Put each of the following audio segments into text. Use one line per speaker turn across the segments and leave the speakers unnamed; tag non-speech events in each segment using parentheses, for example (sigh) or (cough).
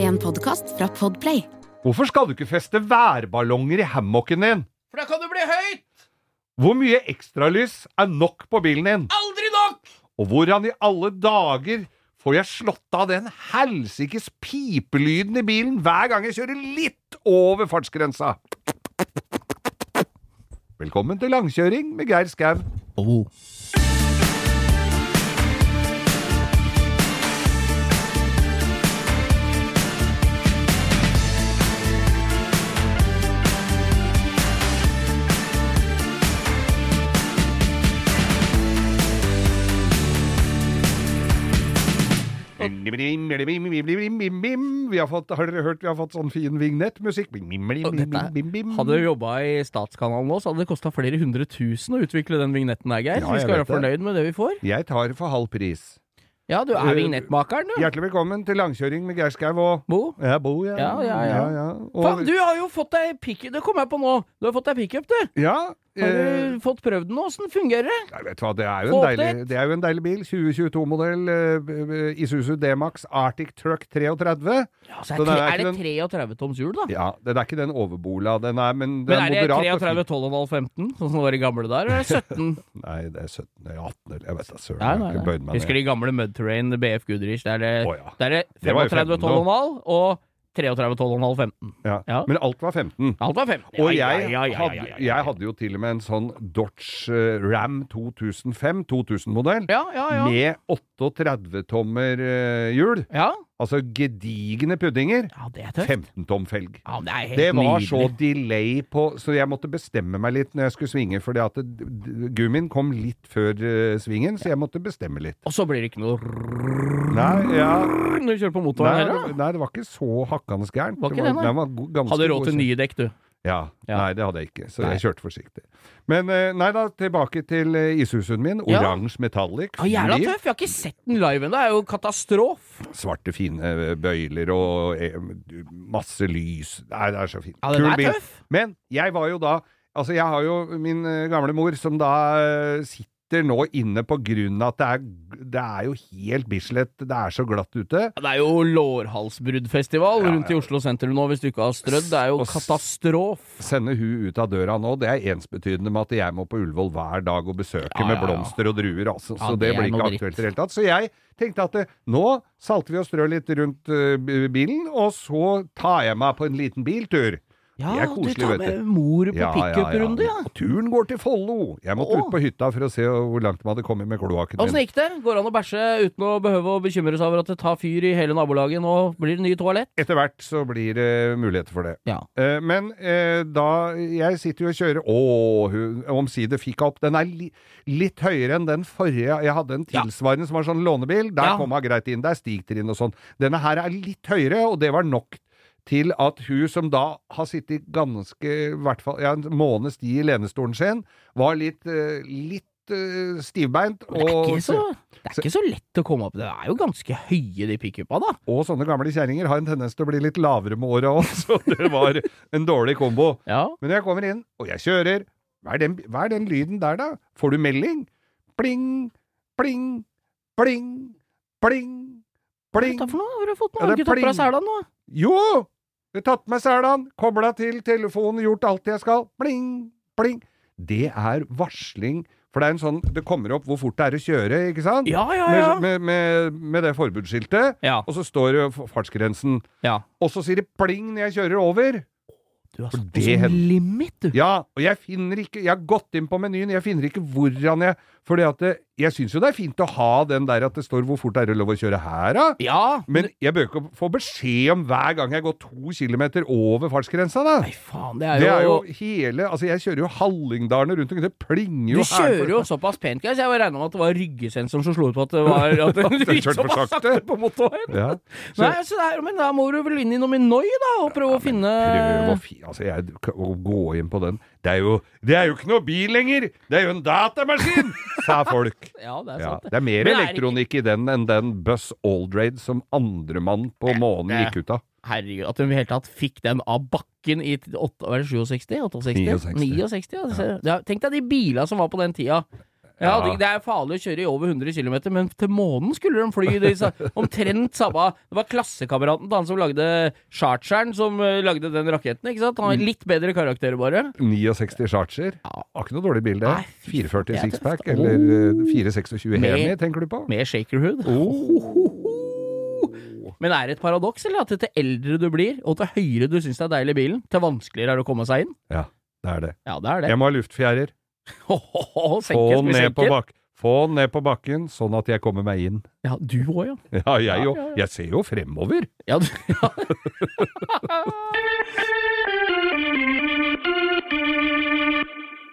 En podkast fra Podplay.
Hvorfor skal du ikke feste værballonger i hammocken din?
For da kan det bli høyt!
Hvor mye ekstralys er nok på bilen din?
Aldri nok!
Og hvordan i alle dager får jeg slått av den helsikes pipelyden i bilen hver gang jeg kjører litt over fartsgrensa? Velkommen til langkjøring med Geir Skau. Vi har fått, har dere hørt, vi har fått sånn fin vignettmusikk? Bim, bim, bim,
Og
bim,
dette er-
bim, bim.
Hadde du jobba i Statskanalen nå, så hadde det kosta flere hundre tusen å utvikle den vignetten der, Geir.
Ja,
Så vi
jeg
skal
vet
være fornøyd med det vi får.
Jeg tar for halv pris.
Ja, du
Eh,
er vignettmakeren, du.
Hjertelig velkommen til langkjøring med Geir Skau og
Bo.
Jeg bor, jeg.
Ja, ja, ja.
Og,
Faen, du har jo fått deg pick... Det kom jeg på nå. Du har fått deg pickup, du.
ja
Har
eh,
du fått prøvd den? Åssen fungerer det?
Nei, vet du hva, det er jo
Få
en
opp
deilig,
litt.
det er jo en deilig bil. 2022-modell eh, Isuzu D-Max Arctic Truck 33.
Altså,
Den er ikke
er, tre, er det
den-
33 toms hjul, da?
Ja, den er ikke den overbola, den er, men den
Men er det
moderat. og
33,
fin.
12,5, 15, sånn som det var i gamle
(laughs)
der? Eller er det 17?
Nei, det er 17, eller 18, eller jeg vet da søren.
Nei,
jeg har
nei,
ikke
nei.
bøyd meg
Husker
ned.
de gamle Mudterrain BF Goodrich? Der er det,
Å, ja.
der er
Det var jo
35,
15 nå.
12,5 og 33, 12,5, 15.
Ja.
Ja.
Men alt var 15.
Alt var 15.
Og
Ja,
jeg
ja, ja, ja, ja,
hadde,
ja, ja.
jeg hadde jo til og med en sånn Dodge eh, Ram 2005-2000-modell
Ja, ja, ja.
med 38-tommer eh, hjul.
Ja,
Altså gedigne puddinger.
ja det er tøft.
15-tom felg.
Ja, men det er helt
Det var
nydelig.
så delay på Så jeg måtte bestemme meg litt når jeg skulle svinge, fordi at det- d- gummien kom litt før eh, svingen, så jeg måtte bestemme litt.
Og så blir det ikke noe rrrr
Nei, ja,
når du kjører på motoren
nei,
heller, da.
det, nei det var ikke så hakkende gærent.
Var ikke det, nei.
den var go- ganske
Hadde råd
god
til
kjøring.
nye dekk, du.
Ja.
Ja.
Nei, det hadde jeg ikke, så
Nei.
jeg kjørte forsiktig. Men eh, nei da, tilbake til eh, Ishusen min.
Ja.
Oransje metallic.
Ja, jævla
flyr.
tøff! Jeg har ikke sett den live ennå, det er jo katastrof!
Svarte, fine eh, bøyler og eh, masse lys. Nei, det er så fint.
Ja, den
Kul
er
bil.
tøff!
Men jeg var jo da Altså, jeg har jo min eh, gamle mor som da eh, sitter nå inne på grunn av at det er, det er jo helt Bislett, det er så glatt ute.
Ja, Det er jo lårhalsbruddfestival
Ja,
rundt i Oslo sentrum nå, hvis du ikke har strødd. Det er jo
Og s-
katastrof!
Sender hun ut av døra nå, det er ensbetydende med at jeg må på Ullevål hver dag og besøke
Ja,
med
ja, ja.
blomster og druer, altså.
Ja,
så det,
det er
blir
noe
ikke
dritt.
aktuelt i det hele tatt. Så jeg tenkte at eh, nå salter vi og strør litt rundt eh, b- bilen, og så tar jeg meg på en liten biltur.
Ja,
Det er koselig,
du tar
vet du.
med mor på pickup-runde, ja.
Og turen går til Follo! Jeg måtte
Å. Altså,
ut på hytta for å se hvor langt de hadde kommet med kloakken
Åssen gikk det? Går det an å bæsje uten å behøve å bekymre seg over at det tar fyr i hele nabolaget? Nå blir det nye toalett?
Etter hvert så blir det muligheter for det.
Ja.
Eh, men eh, da Jeg sitter jo og kjører Å, hun omsider fikk jeg opp. Den er li, litt høyere enn den forrige. Jeg hadde en
Ja.
tilsvarende som var sånn lånebil. Der
Ja.
kom hun greit inn. Der stigtrinn og sånn. Denne her er litt høyere, og det var nok til at hun som da har sittet ganske I hvert fall ja, en måneds tid i lenestolen sin, var litt, eh, litt eh, stivbeint.
Det er,
Og,
ikke så, det er ikke så lett å komme opp Det er jo ganske høye, de pickupa, da.
og sånne gamle kjerringer har en tendens til å bli litt lavere med åra òg, så (laughs) det var en dårlig kombo.
Ja.
Men når jeg kommer inn, og jeg kjører, hva er den, hva er den lyden der da? Får du melding? Pling, pling, pling, pling,
Hva er
pling.
dette for noe? Har du fått
Ja,
noe? Har
det
du
er
ikke tatt på
pling.
deg sela nå?
Jo! Jeg har tatt med selan, kobla til telefonen, gjort alt jeg skal. Pling, pling. Det er varsling, for det er en sånn, det kommer opp hvor fort det er å kjøre, ikke sant?
Ja, ja, ja.
Med, med, med, med det forbudsskiltet,
Ja.
og så står det f- fartsgrensen.
ja.
Og så sier det pling når jeg kjører over.
Du har
For
satt
det
på sånn
hender-
limit, du.
Ja, og jeg finner ikke Jeg har gått inn på menyen, jeg finner ikke hvordan jeg Fordi at det, Jeg syns jo det er fint å ha den der at det står hvor fort er det lov å kjøre her, da.
Ja,
Men jeg bør ikke få beskjed om hver gang jeg går to kilometer over fartsgrensa, da.
Nei, faen, det er jo,
Det er jo hele Altså, jeg kjører jo Hallingdalene rundt omkring. Det plinger jo
Du kjører jo såpass pent, guys. Jeg regna med at det var ryggesensoren som slo ut på at det
(laughs)
var at du
Den kjørte for
såpass
sakte.
på motorveien.
Ja. Så
Nei, så det er, men da må du vel inn i noe Minoi, da, og prøve å finne
prøv å fi... Altså, jeg k- å gå inn på den Det er jo Det er jo ikke noe bil lenger! Det er jo en datamaskin! sa folk.
Ja, det er
Ja,
sant, det.
det er mer
Men er det ikke-
elektronikk i den enn den Buzz Aldrade som andremann på månen
det-
gikk ut av.
Herregud, at hun i det hele tatt fikk den av bakken i t- åtte- hva er det, 67? 68?
69.
69 ja. Så- ja. Tenk deg de bila som var på den tida. Ja,
Ja.
det, det er farlig å kjøre i over 100 km, men til månen skulle de fly. De sa, omtrent samme Det var klassekameraten til han som lagde charteren, som eh, lagde den raketten. ikke sant? Han har litt bedre karakterer, bare.
69 charger. Har ikke noe dårlig bilde.
Nei, fy
44
faen, det er
sixpack,
tøft.
eller eh, 426
Med-
hemi, tenker du på?
Med shakerhood. Men er det et paradoks, eller? At til eldre du blir, og til høyere du syns det er deilig i bilen, til vanskeligere er det å komme seg inn?
Ja, det er det.
Ja, det er det.
Jeg må ha luftfjærer.
Få
Få den ned, på bak Få den ned på bakken, sånn at jeg kommer meg inn. (laughs)
Ja, du òg, ja.
Ja, jeg, jo,
Ja, ja, ja.
jeg ser jo fremover.
Ja, du, (laughs) ja.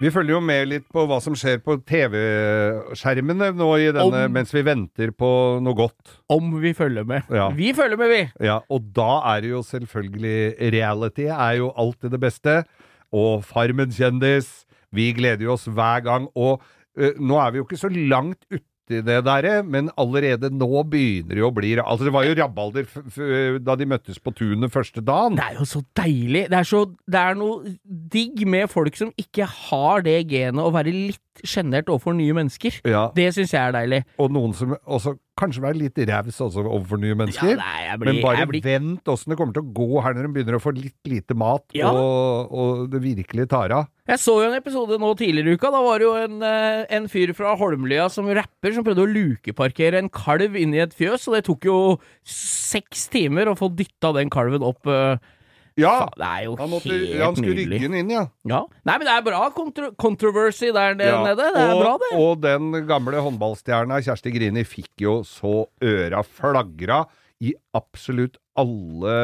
Vi følger jo med litt på hva som skjer på TV-skjermene nå i denne,
Om-
mens vi venter på noe godt.
Om vi følger med.
Ja.
Vi følger med, vi!
Ja, og da er det jo selvfølgelig reality er jo alltid det beste. Og Farmen kjendis. Vi gleder jo oss hver gang. Og eh, nå er vi jo ikke så langt uti det der, men allerede nå begynner det jo å bli Altså, det var jo rabalder f f da de møttes på tunet første dagen.
Det er jo så deilig. Det er, så, det er noe digg med folk som ikke har det genet å være litt sjenert overfor nye mennesker.
Ja,
Det syns jeg er deilig.
og noen som også kanskje være litt raus også overfor nye mennesker.
nei, jeg
men bare
jeg blir-
vent åssen det kommer til å gå her når de begynner å få litt lite mat,
Ja.
og, og det virkelig tar av.
Jeg så jo en episode nå tidligere i uka. Da var det jo en, eh, en fyr fra Holmlia som rapper som prøvde å lukeparkere en kalv inn i et fjøs, og det tok jo seks timer å få dytta den kalven opp. eh.
Ja!
Faen, Det er jo
Han,
helt
måtte,
nydelig.
han skulle rygge den inn, ja.
Ja. Nei, men det er bra kontro controversy der nede.
Ja,
Det er
og,
bra, det.
Og den gamle håndballstjerna Kjersti Grini fikk jo så øra flagra i absolutt alle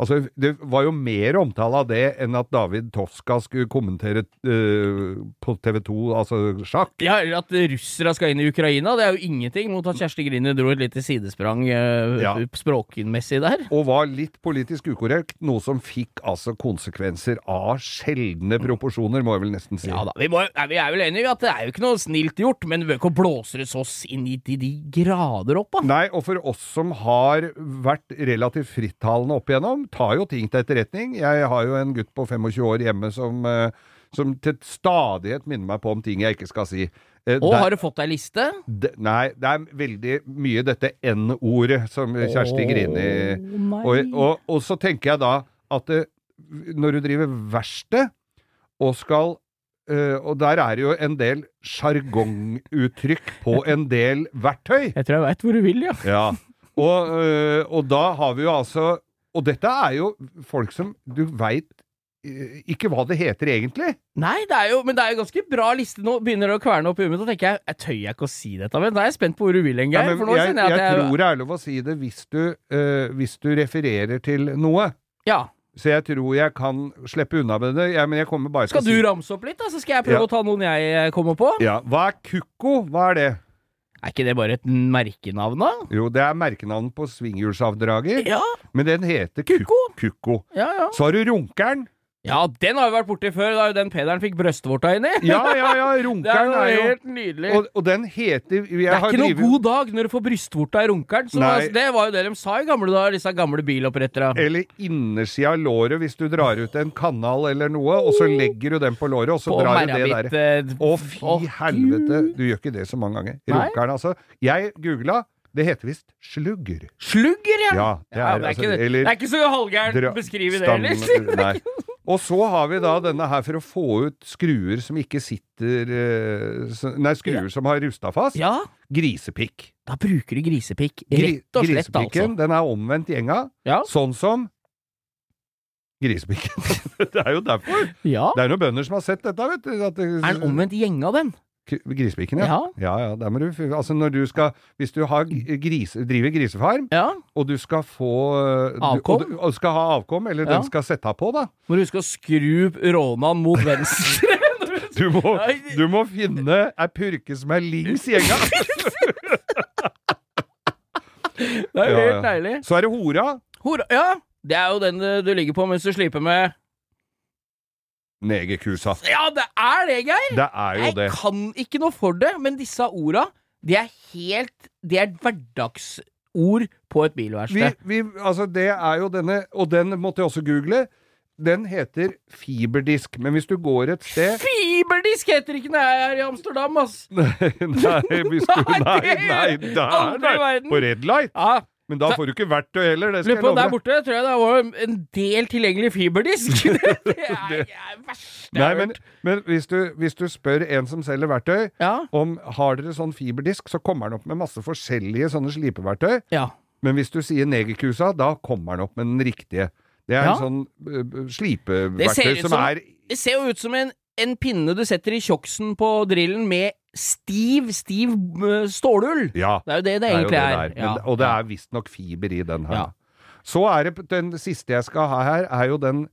Altså, det var jo mer omtale av det enn at David Toska skulle kommentere eh, på TV 2, altså sjakk.
Ja, eller at russere skal inn i Ukraina. Det er jo ingenting mot at Kjersti Grini dro et lite sidesprang eh,
Ja.
språkmessig der.
Og var litt politisk ukorrekt, noe som fikk altså konsekvenser av sjeldne proporsjoner, må jeg vel nesten si.
Ja da, vi, må, nei, vi er vel enige i at det er jo ikke noe snilt gjort, men vi bør ikke blåse det så inn i de, de grader opp, da.
Nei, og for oss som har vært relativt frittalende opp igjennom, tar jo ting til etterretning. Jeg har jo en gutt på 25 år hjemme som, eh, som til stadighet minner meg på om ting jeg ikke skal si. Eh,
Og
der-
har du fått deg liste?
de, nei, det er veldig mye dette N-ordet som Kjersti Grini
nei.
og, og, og så tenker jeg da at eh, når du driver verksted og skal eh, Og der er det jo en del sjargonguttrykk på en del verktøy.
Jeg tror jeg veit hvor du vil, ja.
Ja. Og, eh, og da har vi jo altså Og dette er jo folk som du veit ikke hva det heter egentlig.
Nei, det er jo, men det er jo ganske bra liste nå. Begynner det å kverne opp i hummet, så tenker jeg jeg tør jeg ikke å si dette, men da er jeg spent på hvor du vil en,
Ja,
Geir.
men
for nå
jeg,
kjenner jeg
jeg
at jeg,
tror det er lov å si det hvis du, eh, hvis du refererer til noe.
Ja.
Så jeg tror jeg kan slippe unna med det. Ja, men jeg kommer bare til å
Skal du
si
ramse opp litt, da? Så skal jeg prøve
Ja.
å ta noen jeg eh, kommer på.
ja. Hva er kukko? Hva er det?
Er ikke det bare et merkenavn, da?
Jo, det er merkenavnet på svinghjulsavdrager,
Ja,
men den heter kuk-
Kukko.
Kukko.
ja, ja.
Så har du runkeren.
Ja, den har vi vært borti før, da jo den Pederen fikk brøstvorta inni.
Ja, ja, ja,
(laughs) Det er
runkeren
jo
er jo
helt nydelig.
Og, og den heter jeg
det er
har
ikke noe
drivet-
god dag når du får brystvorta i runkeren. Så
Nei.
altså, det var jo det de sa i gamle dager, disse gamle bilopprettere.
Eller innersida av låret hvis du drar ut en kanal eller noe, og så legger du den på låret, og så
På
drar du
merra
det
mitt.
der.
eh,
Å, fy
Å,
helvete. Du gjør ikke det så mange ganger.
Nei.
Runkeren, altså. Jeg googla. Det heter visst slugger.
Slugger, ja!
Ja, det er,
Ja, men det, er
altså,
ikke,
eller-
det er ikke så halvgærent
Dra-
å beskrive (laughs) det
stam-
heller.
Nei. Og så har vi da denne her for å få ut skruer som ikke sitter eh, s- Nei, skruer som har rusta fast.
Ja,
Grisepikk.
da bruker du grisepikk.
Gri-
Rett og slett, altså.
grisepikken, den er omvendt gjenga.
Ja.
Sånn som
(laughs)
grisepikken. det er jo derfor.
ja.
Det er noen bønder som har sett dette, vet du. At, det-
Er den omvendt gjenge av den?
K- Grisepikken, ja.
Ja.
Ja, ja, der må du, altså når du skal, hvis du har g- gris, driver grisefarm,
ja.
og du skal få eh, du-
Avkom?
Og, du, og skal ha avkom, eller
Ja.
den skal sette av på, da.
Må du huske å skru rånan mot
(laughs)
venstre.
Du må,
(laughs) Nei.
du må finne ei purke som er lings
(laughs)
i gjenga.
Det er jo
Ja,
helt
ja.
deilig.
Så er det hora.
Hora, ja! Det er jo den eh, du ligger på mens du sliper med
Negerkusa.
Ja, det er det, Geir!
Det er jo det.
Jeg kan ikke noe for det, men disse orda, de er helt De er hverdagsord på et
Vi,
bilverksted.
vi, altså det er jo denne, og den måtte jeg også google. den heter fiberdisk, men hvis du går et sted
Fiberdisk heter ikke når jeg er i Amsterdam, ass!
(laughs) Nei, hvis du,
Nei,
nei,
det-
nei, der,
aldri i
nei,
verden.
på red light.
Ja,
Men da
Så-
får du ikke verktøy heller, det skal
Lurer
jeg
på
love
der
deg.
borte, tror jeg det var en del tilgjengelig
(laughs)
fiberdisk. (laughs) det er det er verste jeg
Nei,
har
men,
hørt.
men hvis, du, hvis du spør en som selger verktøy
Ja.
om har dere sånn fiberdisk, så kommer han opp med masse forskjellige sånne slipeverktøy.
ja.
Men hvis du sier negerkusa, da kommer han opp med den riktige. Det er
Ja.
en sånn ø, ø,
Det ser
slipeverktøy
ut
som,
som-
er
Det ser jo ut som en, en pinne du setter i tjoksen på drillen med stiv, stiv eh, stålull.
Ja.
Det er jo det det
er jo
egentlig er.
det der. Men,
Ja.
og det er visstnok fiber i den her.
Ja.
Så er det den siste jeg skal ha her, er jo den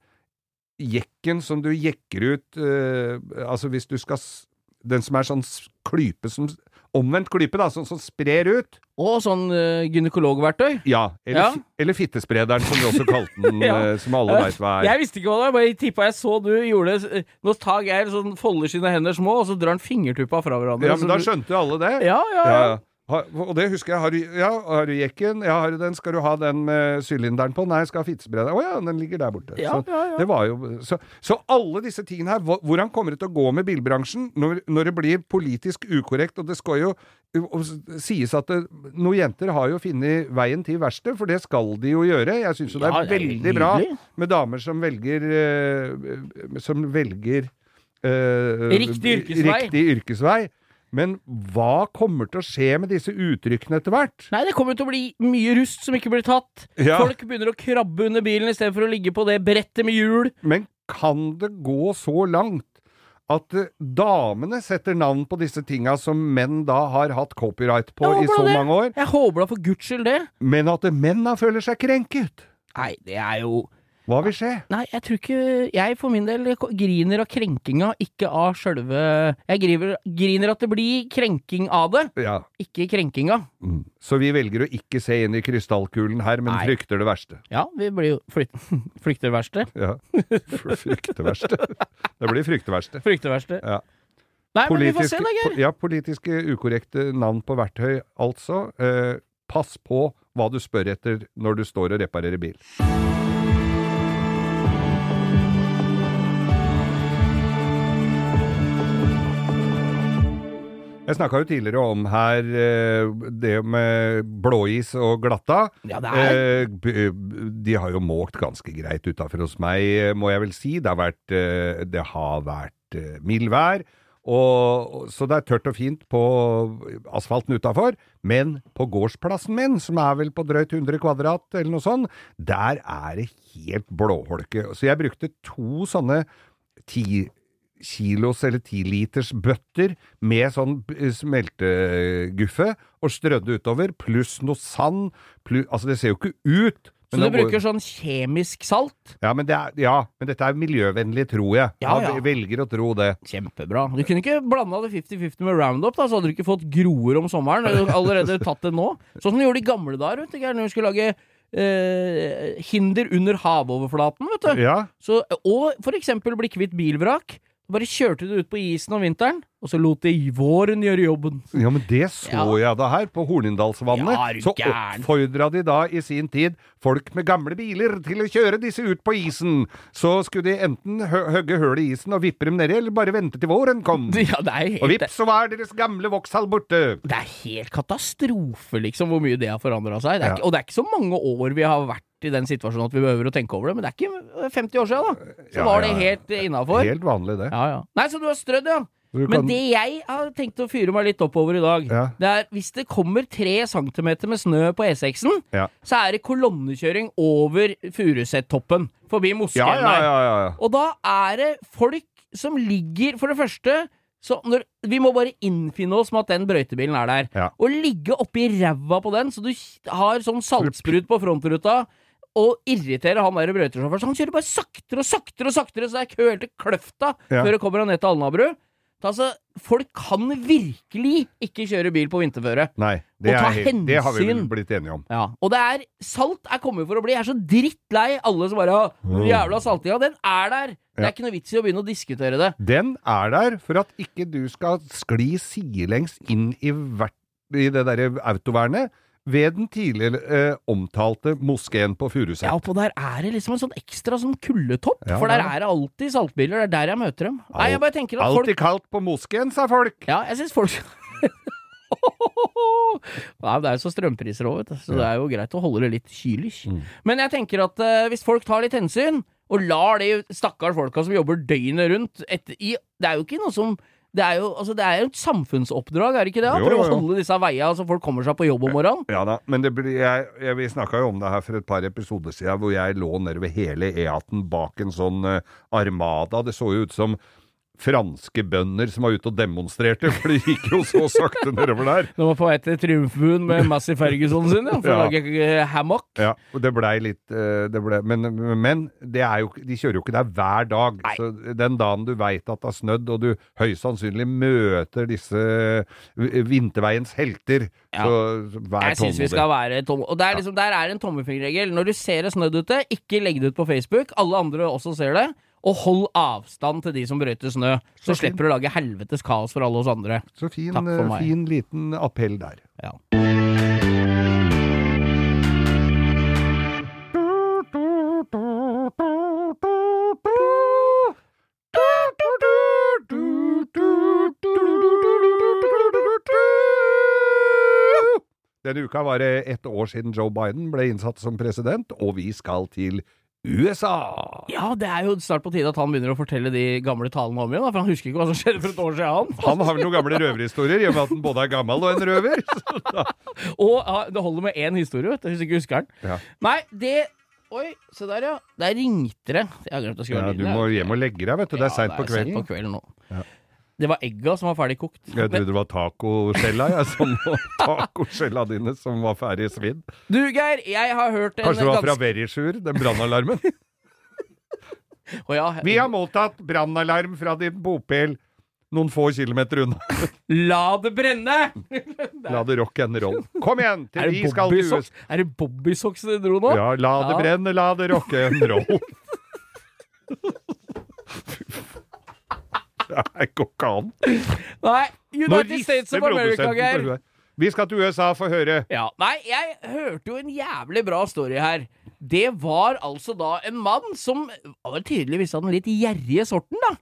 jekken som du jekker ut eh, Altså hvis du skal s- Den som er sånn s- klype som Omvendt klype, da, sånn som sprer ut.
Og sånn eh, gynekologverktøy.
Ja. Eller,
Ja.
fi- eller fittesprederen, som vi også
(laughs)
kalte den,
Ja.
eh, som alle veit hva er.
Jeg visste ikke hva det var, bare tippa jeg så du gjorde det. Nå tar Geir sånn, folder sine hender små, og så drar han fingertuppa fra hverandre.
Ja, men
Så
da
du-
skjønte jo alle det.
ja, ja,
Ja,
ja.
ja. Har- Og det husker jeg. Har du, ja, har du jekken? Ja, har du den? Skal du ha den med sylinderen på? Nei, jeg skal ha fittesprederen. Å ja, den ligger der borte.
Ja,
så,
ja,
Sånn.
ja.
Det var jo, så, så alle disse tingene her, hvor- hvordan kommer det til å gå med bilbransjen når, når det blir politisk ukorrekt, og det skal jo og s- sies at det, noen jenter har jo funnet veien til verkstedet, for det skal de jo gjøre. Jeg syns jo det er
Ja, det er jo
veldig bra
nydelig.
med damer som velger eh, Som velger eh,
Riktig yrkesvei.
Riktig yrkesvei. Men hva kommer til å skje med disse uttrykkene etter hvert?
Nei, det kommer til å bli mye rust som ikke blir tatt.
Ja.
Folk begynner å krabbe under bilen istedenfor å ligge på det brettet med hjul.
Men kan det gå så langt at eh, damene setter navn på disse tinga som menn da har hatt copyright på
Jeg
i så
håper da det.
mange år,
Jeg håper da for guds skyld det.
men at menn da føler seg krenket?
Nei, det er jo
Hva vil skje?
Nei, jeg tror ikke Jeg for min del griner av krenkinga, ikke av sjølve Jeg griver, griner at det blir krenking av det,
Ja.
ikke krenkinga.
Mm. Så vi velger å ikke se inn i krystallkulen her, men
Nei.
frykter det verste.
Ja, vi blir jo flyt, (laughs) Flykteverksted.
Ja. (laughs) Frykter det verste. Det blir frykteverste.
Flykteverksted.
Ja.
Nei, men vi får se da, Geir.
po- ja, politiske ukorrekte eh, navn på verktøy, altså. Eh, pass på hva du spør etter når du står og reparerer bil. Jeg snakka jo tidligere om her eh, det med blåis og glatta.
Ja, det er
Eh, b- b- de har jo måkt ganske greit utafor hos meg, eh, må jeg vel si. Det har vært, eh, det har vært eh, mildvær, og, og- så det er tørt og fint på asfalten utafor. Men på gårdsplassen min, som er vel på drøyt 100 kvadrat eller noe sånt, der er det helt blåholke. Så jeg brukte to sånne ti kilos eller tiliters bøtter med sånn b- smelteguffe og strødde utover, pluss noe sand. Plu- altså, det ser jo ikke ut.
Så du
det må-
bruker sånn kjemisk salt?
ja men, det er, ja, men dette er miljøvennlig, tror jeg.
Ja,
Jeg
ja.
velger å tro det.
Kjempebra. Du kunne ikke blanda det 50-50 med Roundup, da, så hadde du ikke fått groer om sommeren. Du
(laughs)
hadde allerede tatt det nå. Sånn som de gjorde i gamle dager, vet du, Geir, når du skulle lage eh, hinder under havoverflaten, vet du.
Ja,
Så, og for eksempel bli kvitt bilvrak. Bare kjørte du ut på isen om vinteren, og så lot de våren gjøre jobben. (laughs)
ja men det så jeg da her, på Hornindalsvannet.
Ja, er du
så
gæren?
oppfordra de da i sin tid folk med gamle biler til å kjøre disse ut på isen. Så skulle de enten hø høgge hull i isen og vippe dem nedi, eller bare vente til våren kom.
Ja, det er
Og
helt,
vips, så var deres gamle Vauxhall borte!
det er helt katastrofe, liksom, hvor mye det har forandra seg. Det er
Ja.
ikke, og det er ikke så mange år vi har vært i den situasjonen at vi behøver å tenke over det, men det er ikke 50 år siden, da. Så
Ja,
var det
ja, ja.
helt innafor.
Helt vanlig, det.
Ja, ja. Nei, så du har strødd, ja.
Du kan-
Men det jeg har tenkt å fyre meg litt oppover i dag,
Ja.
det er hvis det kommer tre centimeter med snø på E E6-en,
Ja.
så er det kolonnekjøring over Furuset-toppen, forbi moskeen
ja, ja,
der.
ja, ja, ja.
Og da er det folk som ligger For det første så når, Vi må bare innfinne oss med at den brøytebilen er der.
Ja.
Og ligge oppi ræva på den, så du k- har sånn saltsprut på frontruta. Og irritere han der brøytesjåføren. Så han kjører bare saktere og saktere, og saktere så det er kø helt til Kløfta
Ja.
før det kommer han ned til Alnabru. Så Altså, folk kan virkelig ikke kjøre bil på vinterføre.
Nei, det,
Og ta
er helt, det har vi vel
hensyn.
blitt enige om.
Ja. Og det er Salt er kommet for å bli. Jeg er så drittlei alle som bare «Å, den Jævla saltinga, den er der! Det
Ja.
er ikke noe vits i å begynne å diskutere det.
Den er der for at ikke du skal skli sidelengs inn i, hvert, i det derre autovernet. ved den tidligere eh, omtalte moskeen på Furuset.
Ja, oppå der er det liksom en sånn ekstra sånn kuldetopp,
Ja,
for der
ja.
er det alltid saltbiler. Det er der jeg møter dem. Nei, jeg bare tenker at folk
Alltid kaldt på moskeen, sa folk.
Ja, jeg syns folk (laughs) Nei, men Det er jo så strømpriser òg, vet du, så det er jo greit å holde det litt kylig. Men jeg tenker at eh, hvis folk tar litt hensyn, og lar de stakkars folka som jobber døgnet rundt et, i, Det er jo ikke noe som Det er jo, altså, det er jo et samfunnsoppdrag, er det ikke det?
Jo,
Prøve
jo,
å
jo.
holde disse veia så folk kommer seg på jobb om morgenen.
Ja da, men det blir, jeg, jeg, vi snakka jo om det her for et par episoder siden, hvor jeg lå nedover hele E18 bak en sånn eh, armada. Det så jo ut som franske bønder som var ute og demonstrerte, (laughs) for det gikk jo så sakte nedover der.
De var på vei til Triumfbuen med Massey Ferguson sin, ja, for
Ja.
å lage eh, hammock.
Ja, og det blei litt eh, det ble, Men, men det er jo, ikke- de kjører jo ikke der hver dag. Så den dagen du veit at det har snødd, og du høyst sannsynlig møter disse v- vinterveiens helter,
Ja.
så så vær
Jeg syns vi skal
tålmodig.
være tomme. Og der, liksom, der er en tommelfingerregel. Når du ser det snødd ute, ikke legg det ut på Facebook. Alle andre også ser det. Og hold avstand til de som brøyter snø.
Så
Så,
fint.
slipper du å lage helvetes kaos for alle oss andre.
Så fin,
Takk for
eh,
meg.
fin liten appell der.
Ja.
Denne uka var det ett år siden Joe Biden ble innsatt som president, og vi skal til USA!
ja, det er jo snart på tide at han begynner å fortelle de gamle talene om igjen, da, for han husker ikke hva som skjedde for et år siden.
Han har vel noen gamle røverhistorier, i og med at han både er gammel og en røver. Så da-
Og ja, det holder med én historie, vet du, hvis ikke husker den.
Ja.
Nei, det Oi, se der, ja. Der ringte det. Jeg har glemt å skru av
Ja,
lyden.
du
jeg.
må hjem og legge deg, vet du. Det er
Ja,
seint på
sent
kvelden.
på kvelden nå. Det var egga som var ferdig kokt.
Jeg trodde det var tacoskjella, jeg,
(laughs)
som tacoskjella dine som var ferdig svidd.
Du, Geir, jeg har hørt en
Kanskje det var fra
ganske-
Verisjur, den brannalarmen?
Å ja,
Vi har mottatt brannalarm fra din bopel noen få kilometer unna.
La det brenne!
La det rock and roll. Kom igjen,
Er
til vi
det
skal til USA.
bobbysocks? Er det bobbysocks du dro nå?
Ja, la det
Ja.
brenne, la det rock and
(laughs)
roll. Det går ikke an.
Nei,
Nå
United States
rister
of America,
produsenten på
Geir.
huet. Vi skal til USA for å høre.
Ja, nei, jeg hørte jo en jævlig bra story her. Det var altså da en mann som var tydeligvis av den litt gjerrige sorten, da.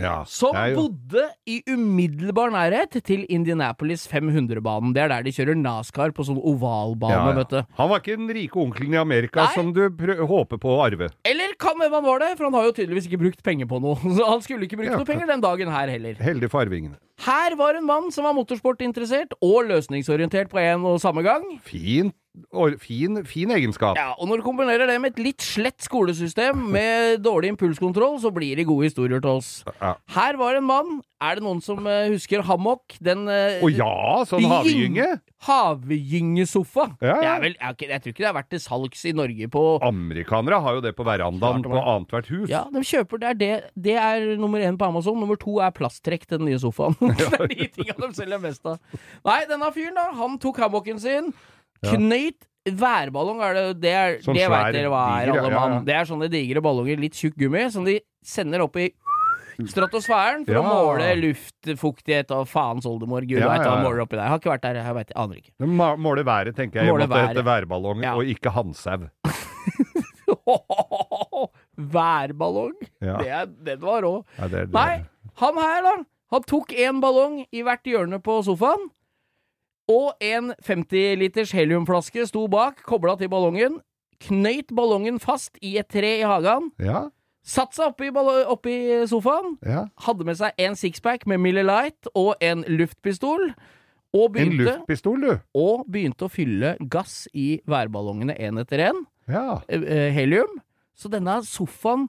Ja,
Som
det er jo-
bodde i umiddelbar nærhet til Indianapolis 500-banen. Det er der de kjører NASCAR på sånn ovalbane,
Ja, ja.
vet du.
Han var ikke den rike onkelen i Amerika
Nei.
som du prø- håper på å arve.
Eller kan hvem han var det, for han har jo tydeligvis ikke brukt penger på noe. (laughs) Så han skulle ikke brukt
Ja.
noe penger den dagen her heller.
Heldig for arvingene.
Her var en mann som var motorsportinteressert og løsningsorientert på en og samme gang.
Fin, or, fin, fin egenskap.
Ja, og når du kombinerer det med et litt slett skolesystem med dårlig impulskontroll, så blir det gode historier til oss.
Ja.
Her var en mann. Er det noen som eh, husker hammock? Den eh,
Å ja, sånn
Gyng-
havgynge!
havgyngesofa.
Ja, ja.
Det er vel, jeg, jeg tror ikke det har vært til salgs i Norge på
Amerikanere har jo det på verandaen
Klart det
på
var.
annethvert hus. (laughs)
ja, de kjøper det er, det, det er nummer én på Amazon. Nummer to er plasttrekk til den nye sofaen. (laughs) det er de tinga de selger mest av. Nei, denne fyren, da. Han tok hammocken sin, knøyt værballong er det, det, er,
Sånn
det
svær,
vet dere hva er,
diger,
alle
ja, ja.
mann. Det er sånne digre ballonger, litt tjukk gummi, som de sender opp i stratosfæren for
Ja.
å måle luftfuktighet og faens oldemor. Gud
Ja,
veit hva
ja,
han
ja.
måler oppi der. Jeg har ikke vært der, jeg vet, jeg aner ikke. (laughs)
De ma- Måler været, tenker jeg, i og
Måler
med at det heter
været.
værballong
Ja.
og ikke handsau.
Værballong!
Ja.
Det er, den var rå.
Ja, det er det.
Nei, han her da Han tok en ballong i hvert hjørne på sofaen Og en 50 liters heliumflaske sto bak Koblet til ballongen Knøyt ballongen fast i et tre i hagen
Ja,
Satt seg oppi, ballo- oppi sofaen
ja.
Hadde med seg en sixpack med Miller Lite Og en luftpistol og
En
begynte,
luftpistol, du.
og begynte å fylle gass i værballongene en etter en
Ja.
eh, eh, helium. Så denne sofaen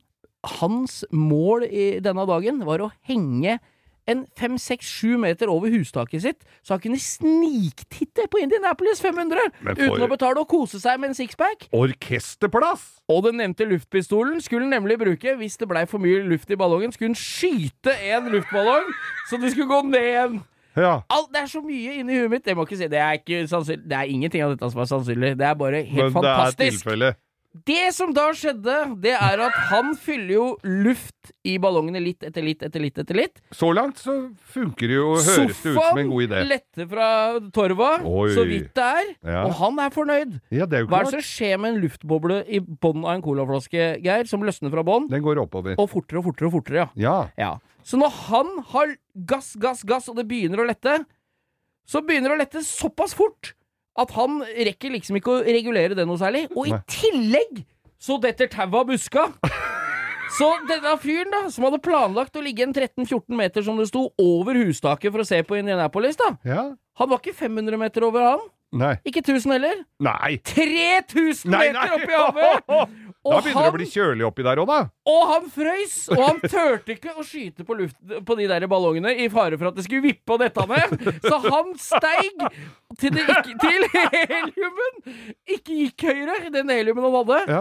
Hans mål i denne dagen var å henge en fem, seks, sju meter over hustaket sitt, så han kunne sniktitte på Indianapolis 500
Men for-
uten å betale og kose seg med en sixpack.
Orkesterplass!
Og den nevnte luftpistolen skulle han nemlig bruke hvis det blei for mye luft i ballongen. Skulle han skyte en luftballong, så de skulle gå ned igjen.
Ja.
Alt, det er så mye inni huet mitt. Det, må jeg ikke si. det, er ikke sannsynlig- det er ingenting av dette som er sannsynlig. Det er bare helt
Men det er
fantastisk.
tilfellet.
Det som da skjedde, det er at han fyller jo luft i ballongene litt etter litt etter litt etter litt.
Så langt så funker det jo, høres det ut som en god idé.
letter fra torva,
Oi.
så vidt det er,
Ja.
og han er fornøyd.
Ja, det er jo
Hva er det
klart.
som skjer med en luftboble i bånn av en colaflaske, Geir, som løsner fra bånn?
Den går oppover.
Og fortere og fortere og fortere, ja.
Ja.
Ja. Så når han har gass, gass, gass, og det begynner å lette, så begynner det å lette såpass fort at han rekker liksom ikke å regulere det noe særlig. Og i
Nei.
tillegg så detter tauet av
(laughs)
buska! Så denne fyren, da, som hadde planlagt å ligge en 13-14 meter, som det sto, over hustaket for å se på Indianapolis, da,
ja.
han var ikke 500 meter over han.
Nei.
Ikke 1000 heller.
Nei!
3000
Nei,
meter
nei.
opp i havet!
(laughs) Da begynner det å bli kjølig oppi der òg, da.
Og han frøys, og han turte ikke å skyte på, luft, på de der ballongene i fare for at det skulle vippe og dette ned. Så han steig til, det ikke, til heliumen. Ikke gikk høyere, den heliumen han hadde.
Ja.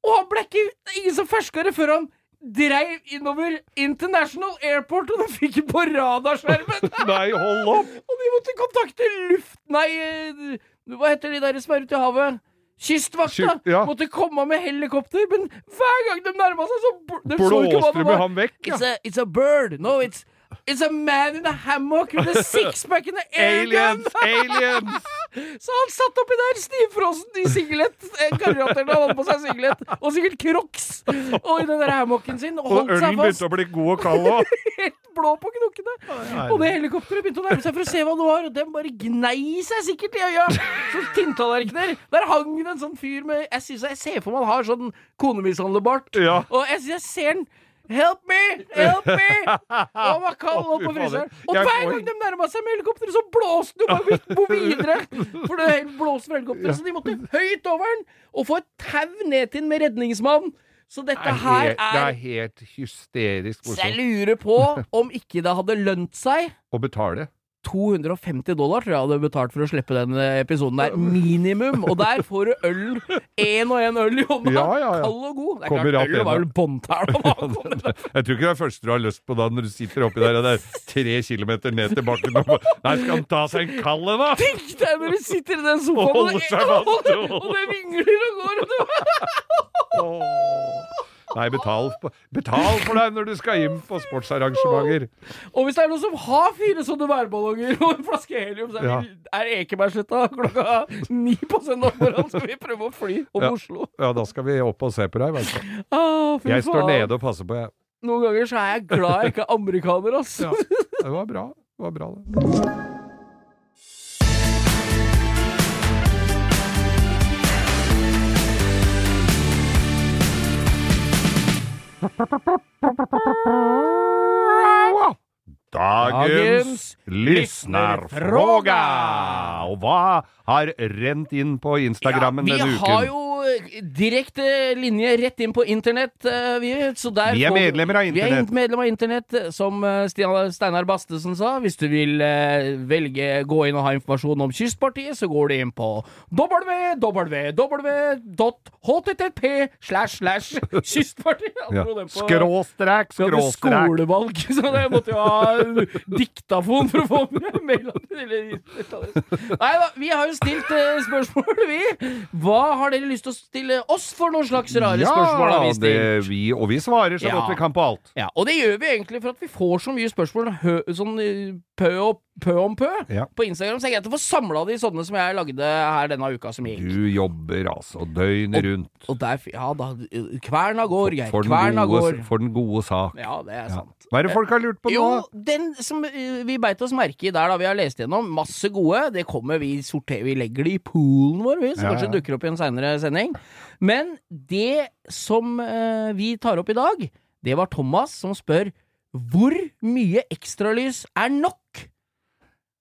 Og han ble ikke ingen som ferska det før han dreiv innover International Airport, og den fikk på radarskjermen!
Nei, hold opp!
Og de måtte kontakte luft... Nei, eh, hva heter de der som er ute i havet? Kystvakta!
Sky- ja.
Måtte komme med helikopter, men hver gang de nærma seg, så bl de så ikke hva
Blåste
det
du med
var.
han vekk? Ja.
It's a, it's a bird. No, it's It's a man in a hammock with a sixpack
(laughs)
and an airgun!
Aliens!
(laughs)
Aliens!
Så han satt oppi der stivfrossen i singlet. eh, Karateren han hadde på seg singlet. Og sikkert Crocs. Og i den der hammocken sin. Og
Og
holdt
ølen
seg fast.
begynte å bli god og kald
(laughs)
òg.
Helt blå på knokkene. Og det helikopteret begynte å nærme seg for å se hva det var, og den bare gnei seg sikkert i øya. Som tinntallerkener. Der hang det en sånn fyr med Jeg, synes, jeg ser for meg han har sånn konemishandlebart.
Ja.
Og jeg, synes jeg ser den. Help me! Help me! Og han var kald og holdt
Å, fy
på
fader.
fryseren. Og
Jeg
hver
får-
gang de nærma seg med helikopteret, så blåste det bare vidt på videre. For det hele blåste fra helikopteret, så de måtte høyt over den og få et tau ned til den med redningsmann. Så dette
Det
her
er
er
helt hysterisk
Så jeg
morsomt
lurer
(laughs)
på om ikke det hadde lønt seg.
å betale.
250 dollar tror jeg hadde betalt for å slippe den eh, episoden der. Minimum! Og der får du øl.
(laughs)
Én og én øl i hånda.
Ja, ja, ja.
Kald og god. Det er
Kommer rett
klart, øl
inn,
var
ja.
vel båndtæla.
Jeg tror ikke det er første du har lyst på da når du sitter oppi der og det er tre kilometer ned til bakken og bare, Nei, skal han ta seg en kald en, da?
Tenk deg når du sitter i den sofaen,
Og
og det,
holder
og,
seg fast.
det vingler og går, og du
Åh. Nei, betal, på- betal for deg når du skal hjem på sportsarrangementer.
Og hvis det er noen som har fire sånne værballonger og en flaske helium, så er,
Ja.
vi, er Ekebergsletta klokka ni på søndag morgen, så vi prøver å fly om
Ja.
Oslo.
Ja, da skal vi opp og se på deg. i hvert
(laughs)
fall.
Ah, fy
Jeg står
faen.
nede og passer på, jeg.
Noen ganger så er jeg glad jeg ikke er amerikaner, ass.
Ja. Det var bra. Det var bra, det. Dagens lyssnarfråga! Og hva har rent inn på Instagrammen
Ja,
denne
Vi har
uken?
jo eh, direkte linje rett inn på internett, eh, vi. Så der
Vi er
får-
medlemmer av
Vi er
internett.
in- medlem av internett, eh, som eh, Stian Steinar Bastesen sa. Hvis du vil eh, velge gå inn og ha informasjon om Kystpartiet, så går du inn på www.http slash
(laughs)
slash Kystpartiet. Jeg
Ja.
dro den på-
Skråstrek,
vi hadde
skråstrek.
skolevalg, (laughs) så jeg måtte jo ha diktafon for å få med Nei da, vi har jo stilt eh, spørsmål, vi. Hva har dere lyst til å stille oss for noen slags rare spørsmål? Har vi
det,
stilt?
vi, og vi svarer så
Ja.
godt vi kan på alt.
Ja, og det gjør vi egentlig for at vi får så mye spørsmål hø, sånn eh, pø, og, pø om pø
Ja.
på Instagram, så det er greit å få samla de sånne som jeg lagde her denne uka som gikk.
Du jobber altså døgnet rundt
Og der, f- ja da, eh, kverna går, Geir.
for den,
Kverna
gode,
går.
for den gode sak.
Ja, det er
Ja.
sant. Eh,
Hva er det folk har lurt på nå?
Jo, den som eh, vi beit oss merke i der da vi har lest gjennom, masse gode, det kommer vi sorterer, vi legger det i poolen vår, vi, så
Ja, ja.
kanskje det dukker opp i en seinere sending. Men det som eh, vi tar opp i dag, det var Thomas som spør hvor mye ekstralys er nok?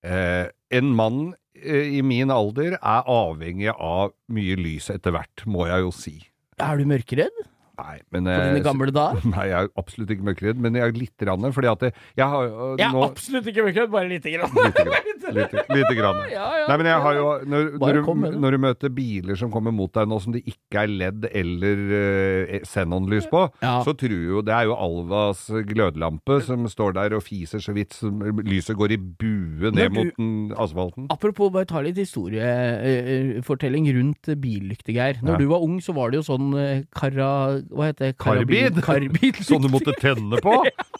Eh, en mann eh, i min alder er avhengig av mye lys etter hvert, må jeg jo si.
Er du mørkeredd?
Nei, men
på
eh,
dine gamle dager.
(laughs) Nei, jeg er absolutt ikke mørkeredd, men jeg er litt rann, fordi at jeg, jeg har jo
Jeg er
nå
absolutt ikke mørkredd, bare lite grann.
Lite grann. Lite, lite grann.
Ja, ja.
(laughs) Nei, men jeg har jo Når,
Bare
når,
kom med
du,
det.
når du møter biler som kommer mot deg nå som det ikke er LED eller uh, Xenon-lys på,
Ja.
så tror jo Det er jo Alvas glødlampe som står der og fiser så vidt som lyset går i bue
Når
ned
du-
mot den asfalten.
Apropos, bare ta litt historiefortelling rundt eh, billykter, Geir. Når
Ja.
du var ung, så var det jo sånn eh, kara... Hva heter det?
Karbid?
Karbid.
(laughs) Sånn du måtte tenne på! (laughs)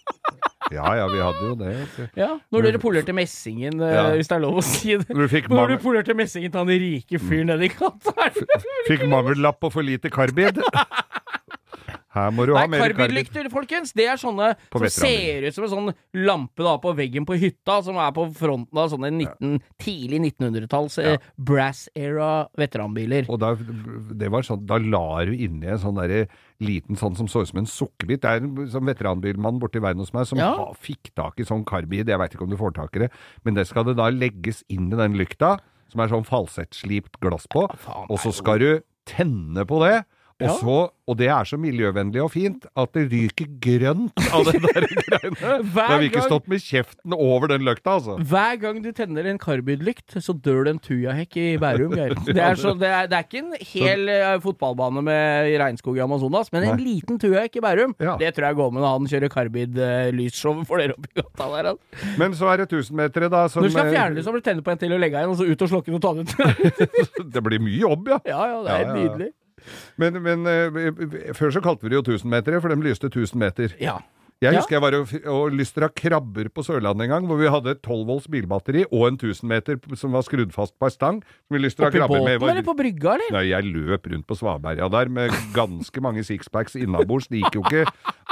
Ja ja, vi hadde jo det. vet du.
Ja, når dere polerte messingen, eh,
Ja.
hvis det er lov å si det.
Når du fikk, Mm.
Når du
mangel-
polerte messingen til han rike fyren nedi gata her.
fikk mangellapp og for lite karbid. (laughs) Her må du
Nei,
ha mer karbid.
karbidlykter, folkens, det er sånne
På
som
veteranbiler.
ser ut som en sånn lampe da på veggen på hytta, som er på fronten av sånne 19, tidlig 1900-talls eh, brass era veteranbiler.
Og da, det var sånn, da la du inni en sånn derre liten sånn som så ut som en sukkerbit. Det er en sånn veteranbilmann borti veien hos meg som
Ja.
ha, fikk tak i sånn karbid, jeg veit ikke om du får tak i det, men det skal det da legges inn i den lykta, som er sånn falsettslipt glass på,
faen,
og så skal du tenne på det. Og,
Ja.
så, og det er så miljøvennlig og fint at det ryker grønt av det der (laughs) greiene.
Hver
Da vil ikke
gang-
stått med kjeften over den løkta, altså.
Hver gang du tenner en karbidlykt, så dør det en tujahekk i
(laughs)
Bærum, Geir. Det er, så, det er, det er ikke en hel eh, fotballbane med i regnskog i Amazonas, men en liten tujahekk i Bærum.
Ja.
Det tror jeg går med når han kjører karbidlysshow for dere oppi gata der. altså.
Men så er det tusenmetere, da, som
Når du skal
eh,
fjerne det, så må du tenne på en til og legge inn, og så ut og slokke den og ta den ut.
(laughs) Det blir mye jobb, ja.
(laughs) ja, ja, det er
Ja, ja, ja.
nydelig.
Men, men eh, før så kalte vi det jo tusenmetere, for de lyste 1000 meter.
Ja.
Jeg
Ja.
husker jeg var og, og lystra krabber på Sørlandet en gang, hvor vi hadde et 12 volts bilbatteri og en 1000 meter p- som var skrudd fast på ei stang. Som vi lystra
Oppi
krabber
båten,
med. Var-
eller på brygga, eller?
Nei, jeg løp rundt på Svaberga der med ganske mange sixpacks innabords. Det gikk jo ikke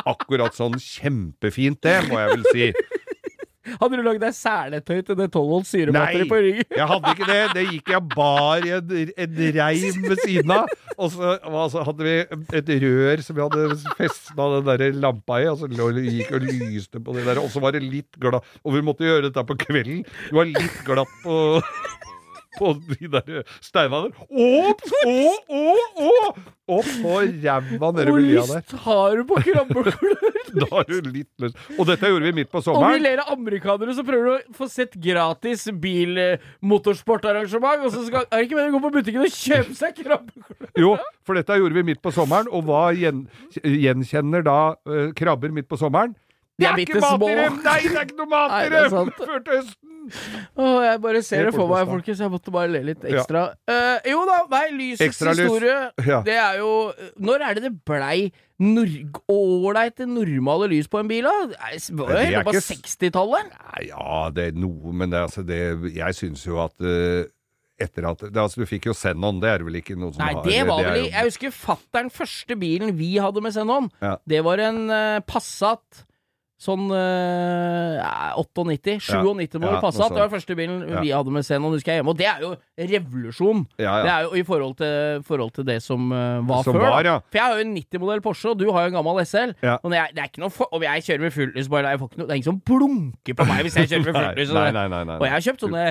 akkurat sånn kjempefint, det, må jeg vel si.
Hadde du lagd deg seletøy til det 12 volts
Nei,
syrebatteri på ryggen?
jeg hadde ikke det. Det gikk jeg bar i en, en reim ved siden av. Og så og så hadde vi et rør som vi hadde festna den der lampa i, og så lå, gikk og lyste på det der. Og så var det litt glatt Og vi måtte gjøre dette på kvelden. Det var litt glatt på på de der steina der. Opp, å, å, å! Opp på ræva nede
Hvor
ved lia der.
lyst har du på
(laughs)
krabbeklør?
Da har du litt lyst. Og dette gjorde vi midt på
Og vi
sommeren.
ler av amerikanere som prøver å få sett gratis bilmotorsportarrangement, og så skal, er det ikke mer å gå på butikken og kjøpe seg krabbeklør?
Jo, for dette gjorde vi midt på sommeren, og hva gjen, gjenkjenner da eh, krabber midt på sommeren?
De er
ikke
bittesmå.
mat i dem! Nei, det er ikke noe mat
Nei,
i
det er
dem!
sant.
Før til høsten!
Åh, jeg bare ser det
Helt
for meg,
bortforstand.
folkens. Jeg måtte bare le litt ekstra. Eh, jo da, nei, lysets
Ekstra lys.
historie,
Ja.
det er jo Når er det det blei nor- ålreite, normale lys på en bil, da? Nei, Det var jo
Nei, det er
helt opp på
ikke s-
60-tallet.
Nei, ja, det er noe, men det, er altså, det Jeg syns jo at eh, etter at det, altså, Du fikk jo Xenon, det er det vel ikke noen som
Nei,
har
det var
er
vel i
jo-
Jeg husker fattern første bilen vi hadde med Xenon.
Ja.
Det var en eh, Passat sånn eh, ja, 98? 97 må
Ja, noe
ja, Passat. Det
sånt.
var første bilen vi hadde med Xenon, husker jeg hjemme. Og det er jo revolusjon.
Ja, ja.
Det er jo i forhold til, forhold til det som eh, var
Som
før. da.
var, ja.
For jeg har jo en 90-modell Porsche, og du har jo en gammel SL.
Ja.
Og når jeg, det er ikke noe for, om jeg kjører med fullt bare, jeg får ikke noe, Det er ingen som blunker på meg hvis jeg kjører
(laughs)
med
Nei,
fullt lys.
nei, nei, nei, nei.
liksom Og jeg har kjøpt sånne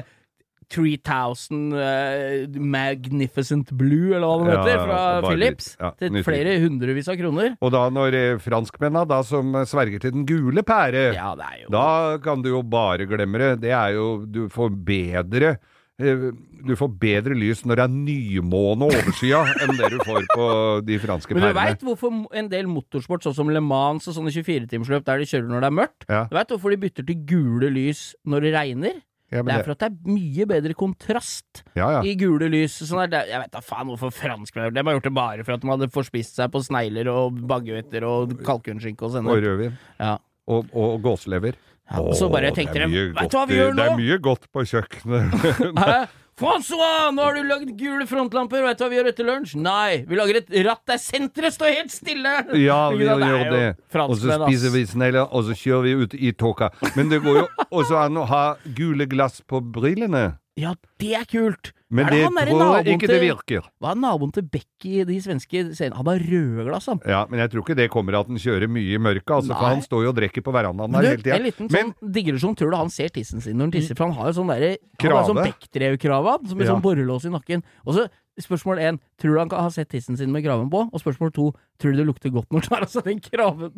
3000 eh, Magnificent Blue, eller hva det
Ja,
heter,
ja,
fra
bare
Philips.
litt. Ja,
til
nyttig.
flere hundrevis av kroner.
Og da når eh, franskmennene da som sverger til den gule pære
Ja, det er jo
Da kan du jo bare glemme det. Det er jo Du får bedre eh, du får bedre lys når det er nymåne og overskya enn det du får på de franske
Men du
pærene.
veit hvorfor mo- en del motorsport, sånn som Le Mans og sånne 24-timersløp der de kjører når det er mørkt,
Ja.
du veit hvorfor de bytter til gule lys når det regner?
Ja, men
Det er
det-
for at det er mye bedre kontrast
Ja, ja.
i gule lys. Sånn er det, jeg vet da faen hvorfor franskmenn har gjort det. De har gjort det bare for at de hadde forspist seg på snegler og baguetter og kalkunskinke
Og
og sennep.
rødvin.
Ja.
Og, og gåselever.
Ja, og så
Åh,
bare tenkte
det er mye
de, "Vet du
godt
hva vi
i- Det
gjør nå?"
er mye godt på
(laughs)
kjøkkenet.
Hæ? Francois, nå har du lagd gule frontlamper, veit du hva vi gjør etter lunsj? Nei, vi lager et ratt der senteret står helt stille!
ja,
Ikke
vi
sant?
gjør
er jo
det. Og så
Franskmenn,
spiser
ass.
vi snegler, og så kjører vi ut i tåka. Men det går jo også an å ha gule glass på brillene.
Ja, det er kult!
Men
er det
det,
han derre
tror
naboen
jeg ikke det
til-
virker.
Hva er naboen til Becky, de svenske scenene? Han har røde glass, han.
Ja, Men jeg tror ikke det kommer at den kjører mye i mørket. Altså, for
Nei.
han står jo og drikker på verandaen
Men
der
du,
hele
En
tida.
liten
Men
sånn digresjon. Tror du han ser tissen sin når han tisser? For han har jo sånn derre Han har
Krave.
sånn Bechdrev-krave, han, som med
Ja.
sånn borrelås i nakken. Og så
Spørsmål én, tror du han kan ha sett tissen sin med kraven på? Og spørsmål to, tror du det lukter godt når du tar av seg den kraven?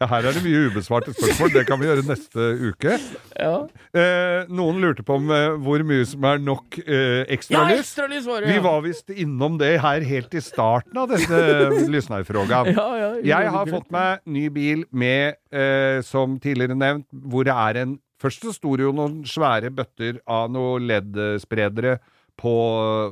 Ja, her er det mye ubesvarte spørsmål. Det kan vi gjøre neste uke.
Ja,
Eh, noen lurte på om eh, hvor mye som er nok eh,
ja
ekstralys.
ekstralys var det!
Vi
ja.
var visst innom det her helt i starten av denne lyssnarfrågan.
ja, ja,
Jeg har fått meg ny bil med, eh, som tidligere nevnt, hvor det er en Først så sto det jo noen svære bøtter av noen leddspredere på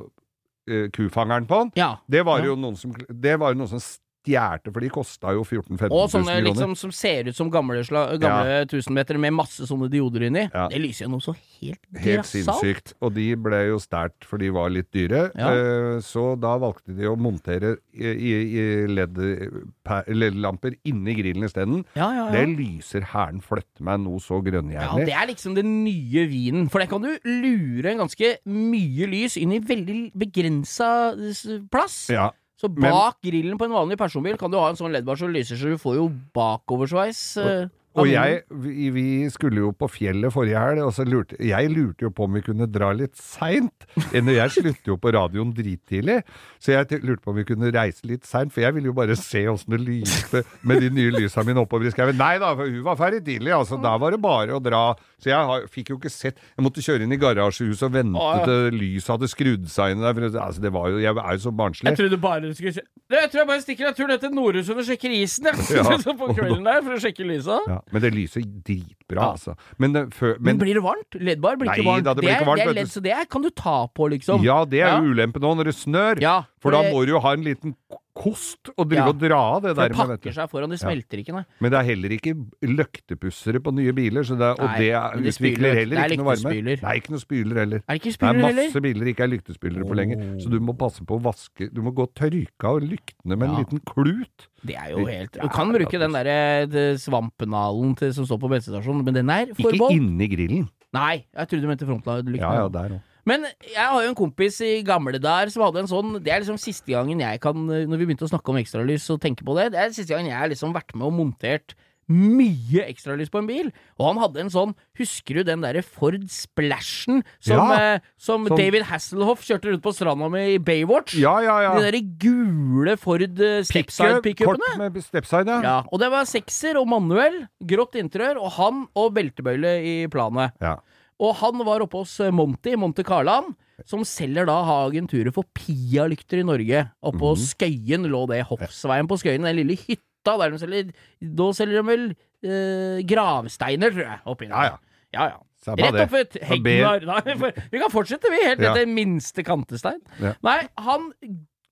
eh, kufangeren på den.
ja.
Det var
Ja.
jo noen som, det var jo noen som stjerte, for de kosta jo 14 000-15 000
Og sånne
kroner.
liksom, som ser ut som gamle, sla, gamle tusenmeter med masse sånne dioder inni.
Ja.
Det lyser jo noe så helt
Helt
grassat.
sinnssykt. Og de ble jo stært, for de var litt dyre.
Ja.
Eh, Så da valgte de å montere i, i, i LED-lamper inni grillen isteden.
Ja, ja,
Det
ja.
lyser hæren flytte meg noe så
Ja,
grønnjævlig.
det er liksom den nye vinen. For der kan du lure ganske mye lys inn i veldig begrensa s- plass.
Ja,
Så
men-
bak grillen på en vanlig personbil kan du ha en sånn LED-bar som lyser, så du får jo bakoversveis. eh, av
og
vinden.
jeg, vi, vi skulle jo på fjellet forrige helg, og så lurte jeg lurte jo på om vi kunne dra litt seint. Enda Jeg slutter jo på radioen drittidlig, så jeg t- lurte på om vi kunne reise litt seint, for jeg ville jo bare se åssen det lyste med de nye lysa mine oppover i skauen. Nei da, for hun var ferdig tidlig, altså. Da var det bare å dra. Så jeg har, fikk jo ikke sett Jeg måtte kjøre inn i garasjehuset og vente
Å, ja.
til lyset hadde skrudd seg inn der. For, det- altså, det var jo, jeg er jo så barnslig.
Jeg trodde bare du skulle se Du, Jeg tror jeg bare stikker en tur ned til Nordhuset og sjekker isen, jeg. (laughs)
Ja.
Så på kvelden der, for å sjekke lysa.
Ja, men det lyser dritbra,
Ja.
altså. Men, det- før,
Men,
men
blir det varmt? LED-bar blir
Nei,
ikke varmt.
da, det blir ikke varmt,
er,
vet
det er LED,
du.
så det er, kan du ta på, liksom.
Ja, det er
Ja.
jo ulempen nå når det snør.
Ja,
For da
det-
må du jo ha en liten k- kost og drive
Ja.
og dra av det
for
der.
det
med, vet
pakker
du.
seg foran, det
Ja.
smelter ikke, nei.
Men det er heller ikke løktepussere på nye biler, så det er, og
Nei,
det
men det spyler,
utvikler
vet du.
heller
Det er
ikke noe varme.
lyktespyler.
Det er ikke noe spyler heller.
Er det ikke
Det er
spyler heller?
masse biler det ikke er lyktespylere på lenger, så du må passe på å vaske Du må gå og tørke av lyktene med en
Ja.
liten klut.
Det er jo helt Du
Ja,
kan bruke
ja,
den derre svampenalen til, som står på bensinstasjonen, men den er
Ikke
forbeholdt.
inni grillen.
Nei, jeg trodde du mente frontladelykt.
Ja, ja, der òg.
Men jeg har jo en kompis i gamle der som hadde en sånn Det er liksom siste gangen jeg kan Når vi begynte å snakke om ekstralys og tenke på det, det er siste gangen jeg har liksom vært med og montert mye ekstralys på en bil. Og han hadde en sånn Husker du den derre Ford Splashen som,
Ja,
eh, som,
som-
David Hasselhoff kjørte rundt på stranda med i Baywatch?
Ja, ja, ja.
De derre gule Ford eh,
Kort
stepside-pickupene?
med stepside, ja.
Ja, og det var sekser og manuell, grått interiør, og han og beltebøyle i planet.
ja.
Og han var oppe hos eh, Monty, Monte Carlan, som selger da har agenturet for Pia-lykter i Norge. Oppå
Mhm.
Skøyen lå det, Hoffsveien på Skøyen, den lille hytta der de selger Da selger de vel eh, gravsteiner, tror jeg, oppi der.
Ja, ja.
Ja, ja.
Samme
Rett
det.
opp ved
Da ber-
hegnar. (laughs) Nei, for- Vi kan fortsette, vi, helt
Ja.
ned til minste kantestein.
Ja.
Nei, han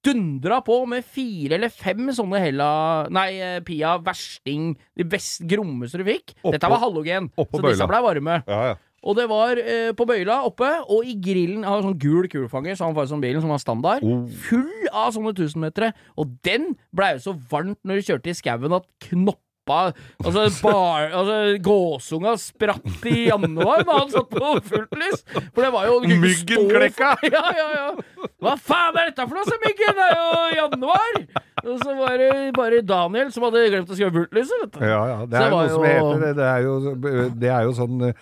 dundra på med fire eller fem sånne Hella Nei, eh, Pia versting, de best grommeste du fikk.
Oppå-
Dette var halogen,
oppå
så disse
bøyla.
blei varme.
ja, ja.
Og det var eh, på bøyla oppe, og i grillen Han har sånn gul kulefanger, så han får sånn bilen som var standard.
Oh.
Full av sånne tusenmetere. Og den blei jo så varmt når du kjørte i skauen at knoppa Altså, bar, altså gåsunga spratt i januar da han satt på fullt lys! For det var jo du kunne ikke
Myggen
stå-
klekka.
(laughs) Ja, ja, ja. Hva faen er dette for noe, sa myggen? Det er jo januar! Og så var det bare Daniel som hadde glemt å skru av fulltlyset, vet du.
Ja, ja. Det
Så
er
det
noe
var
som
jo-
heter det. Det er jo, det er jo sånn eh,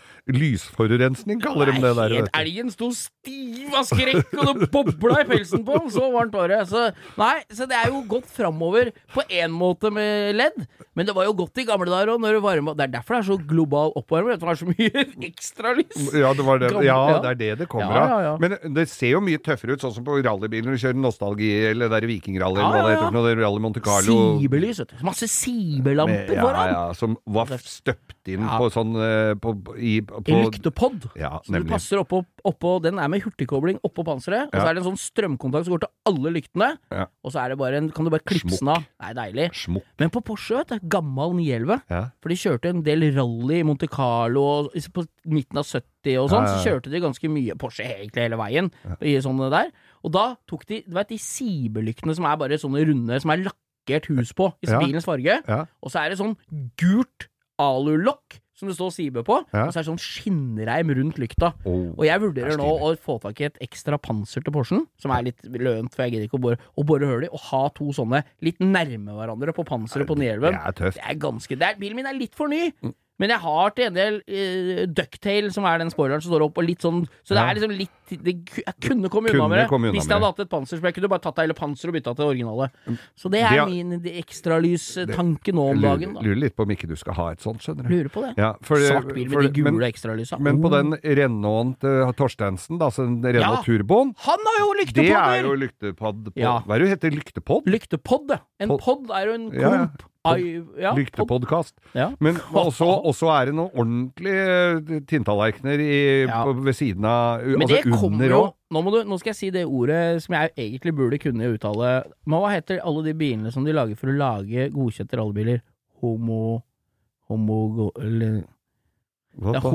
lysforurensning, kaller de det der.
Helt
Vet du.
elgen sto stiv av skrekk, og det bobla i pelsen på den. Så varmt var det. Så, nei, så det er jo gått framover på én måte med ledd, men det var jo godt i gamle dager òg, når det varma Det er derfor det er så global oppvarming, vet du, det er så mye ekstralys.
Ja, det var det.
Gammel,
ja,
ja.
det er det det kommer
Ja,
av.
ja, ja.
Men eh, det ser jo mye tøffere ut, sånn som på rallybilen når du kjører nostalgi eller det der vikingrally
Ja,
eller hva det
ja, ja.
heter. for noe, det er Rally Monte Carlo.
Sibelys, vet du. Masse sibellamper
ja,
foran.
ja, som var f- støpt inn
Ja.
på sånn eh, på, i,
I
på,
lyktepod.
Ja,
Så du
nemlig.
passer oppå, oppå Den er med hurtigkobling oppå panseret. Og
Ja.
så er det en sånn strømkontakt som går til alle lyktene.
Ja.
Og så er det bare en, kan du bare klippe den av. Det er deilig.
Smokk.
Men på Porsche, vet du, gammel 911,
Ja.
for de kjørte en del rally i Monte Carlo og i- på midten av 70 og sånn,
Ja, ja, ja.
så kjørte de ganske mye Porsche egentlig hele veien i sånne der. Og da tok de, du vet, de sibelyktene som er bare sånne runde, som er lakkert hus på i
Ja.
bilens farge,
Ja.
og så er det sånn gult alulokk som det står Sibe på,
Ja.
og så er det sånn skinnreim rundt lykta.
Oh.
Og jeg vurderer
Det er
nå å få tak i et ekstra panser til Porschen, som er litt lønt, for jeg gidder ikke å bore, å bore hull i, og ha to sånne litt nærme hverandre på panseret på
Det Mm.
Nielven.
er tøft.
Det er ganske det er, Bilen min er litt for ny,
Men jeg har til en del uh, Ducktail, som er den spoileren som står opp, og litt sånn Så det
Ja.
er liksom litt det, ku- Jeg kunne komme
Kunne
unna med det
komme unna
hvis
med Mm.
jeg hadde hatt et panser. Så jeg kunne bare tatt av hele panseret og bytta til det originale. Så det er
Det er-
min ekstralystanke nå om
Lurer,
dagen. Da.
lurer litt på om ikke du skal ha et sånt, skjønner du.
Lurer på det.
Ja, for-
Svart bil
for-
med de
men-
gule ekstralysa.
Men på
Oh.
den Renaulten til Torstensen, da, altså den Renault
Ja.
Turboen,
Han har jo
det er
lyktepodder!
jo lyktepad på
Ja.
Hva er det heter det? Lyktepod?
Lyktepod, ja. En
Pod-
pod er jo en
Ja, ja.
klump. Ai- Ja, pod.
Lyktepodkast.
Ja.
Men også, også er det noen ordentlige eh, tinntallerkener i-
Ja.
på- ved siden av
Men
altså
det kommer
under
jo
òg.
nå, må du, nå skal jeg si det ordet som jeg egentlig burde kunne uttale. Men hva heter alle de bilene som de lager for å lage godkjente rallybiler? Homo... Homo... Eller,
Hva
det er
da?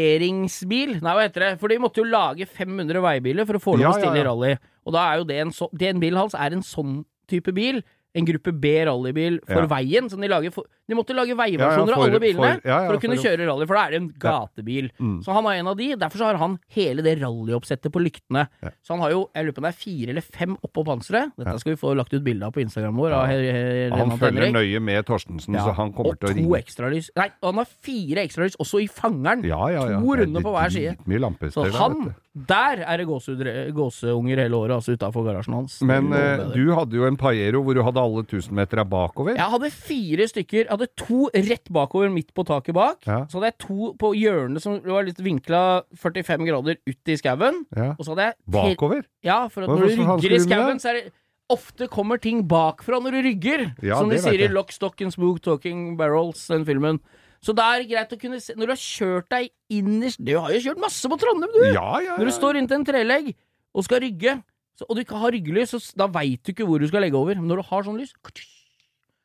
homologeringsbil? Nei, hva heter det? For de måtte jo lage 500 veibiler for å få lov
Ja,
å stille
ja,
i
ja.
rally. Og da er jo det en sånn Det en bil hans er en sånn type bil. En gruppe B rallybil for
Ja.
veien. Som de, lager for, de måtte
Ja,
lage
ja, for-
veiversjoner av alle bilene
for- ja, ja,
for å kunne
for-
kjøre rally, for da er det en gatebil.
Mm.
Så han er en av de. Derfor så har han hele det rallyoppsettet på lyktene. Så han har jo jeg lurer på om det er fire eller fem oppå panseret. Dette skal vi få lagt ut bilde av på Instagram vår. Av her, her,
Han
Renat
følger
Henrik.
nøye med Torstensen, så han kommer
og
til å
to
ringe.
ekstralys. Nei, og han har fire ekstralys også i fangeren.
Ja, ja, ja.
To
Det er
runder på hver side.
dritmye lampester
Så
der, vet
han,
du.
der er det gåseunger, gåseunger hele året, altså utafor garasjen hans.
Men
Det
eh,
lover jeg deg.
du hadde jo en Paiero hvor du hadde alle tusenmetera bakover.
Jeg hadde fire stykker. Jeg hadde to rett bakover, midt på taket bak.
Ja.
Så hadde jeg to på hjørnet som var litt vinkla 45 grader ut i skauen.
Ja.
Og så hadde jeg tre-
Bakover?
Ja, for at
Hva-
når du
hvordan
rygger i
skulle du
skauen,
det?
så er det Ofte kommer ting bakfra når du rygger,
Ja,
som de
det vet
sier i
jeg.
Lock, Stock and Spook Talking Barrels, den filmen. Så det er greit å kunne se Når du har kjørt deg innerst Du har jo kjørt masse på Trondheim, du!
Ja, ja, ja.
Når du står inntil en trelegg og skal rygge, så, og du ikke har ryggelys, så s- da veit du ikke hvor du skal legge over. Men når du har sånn lys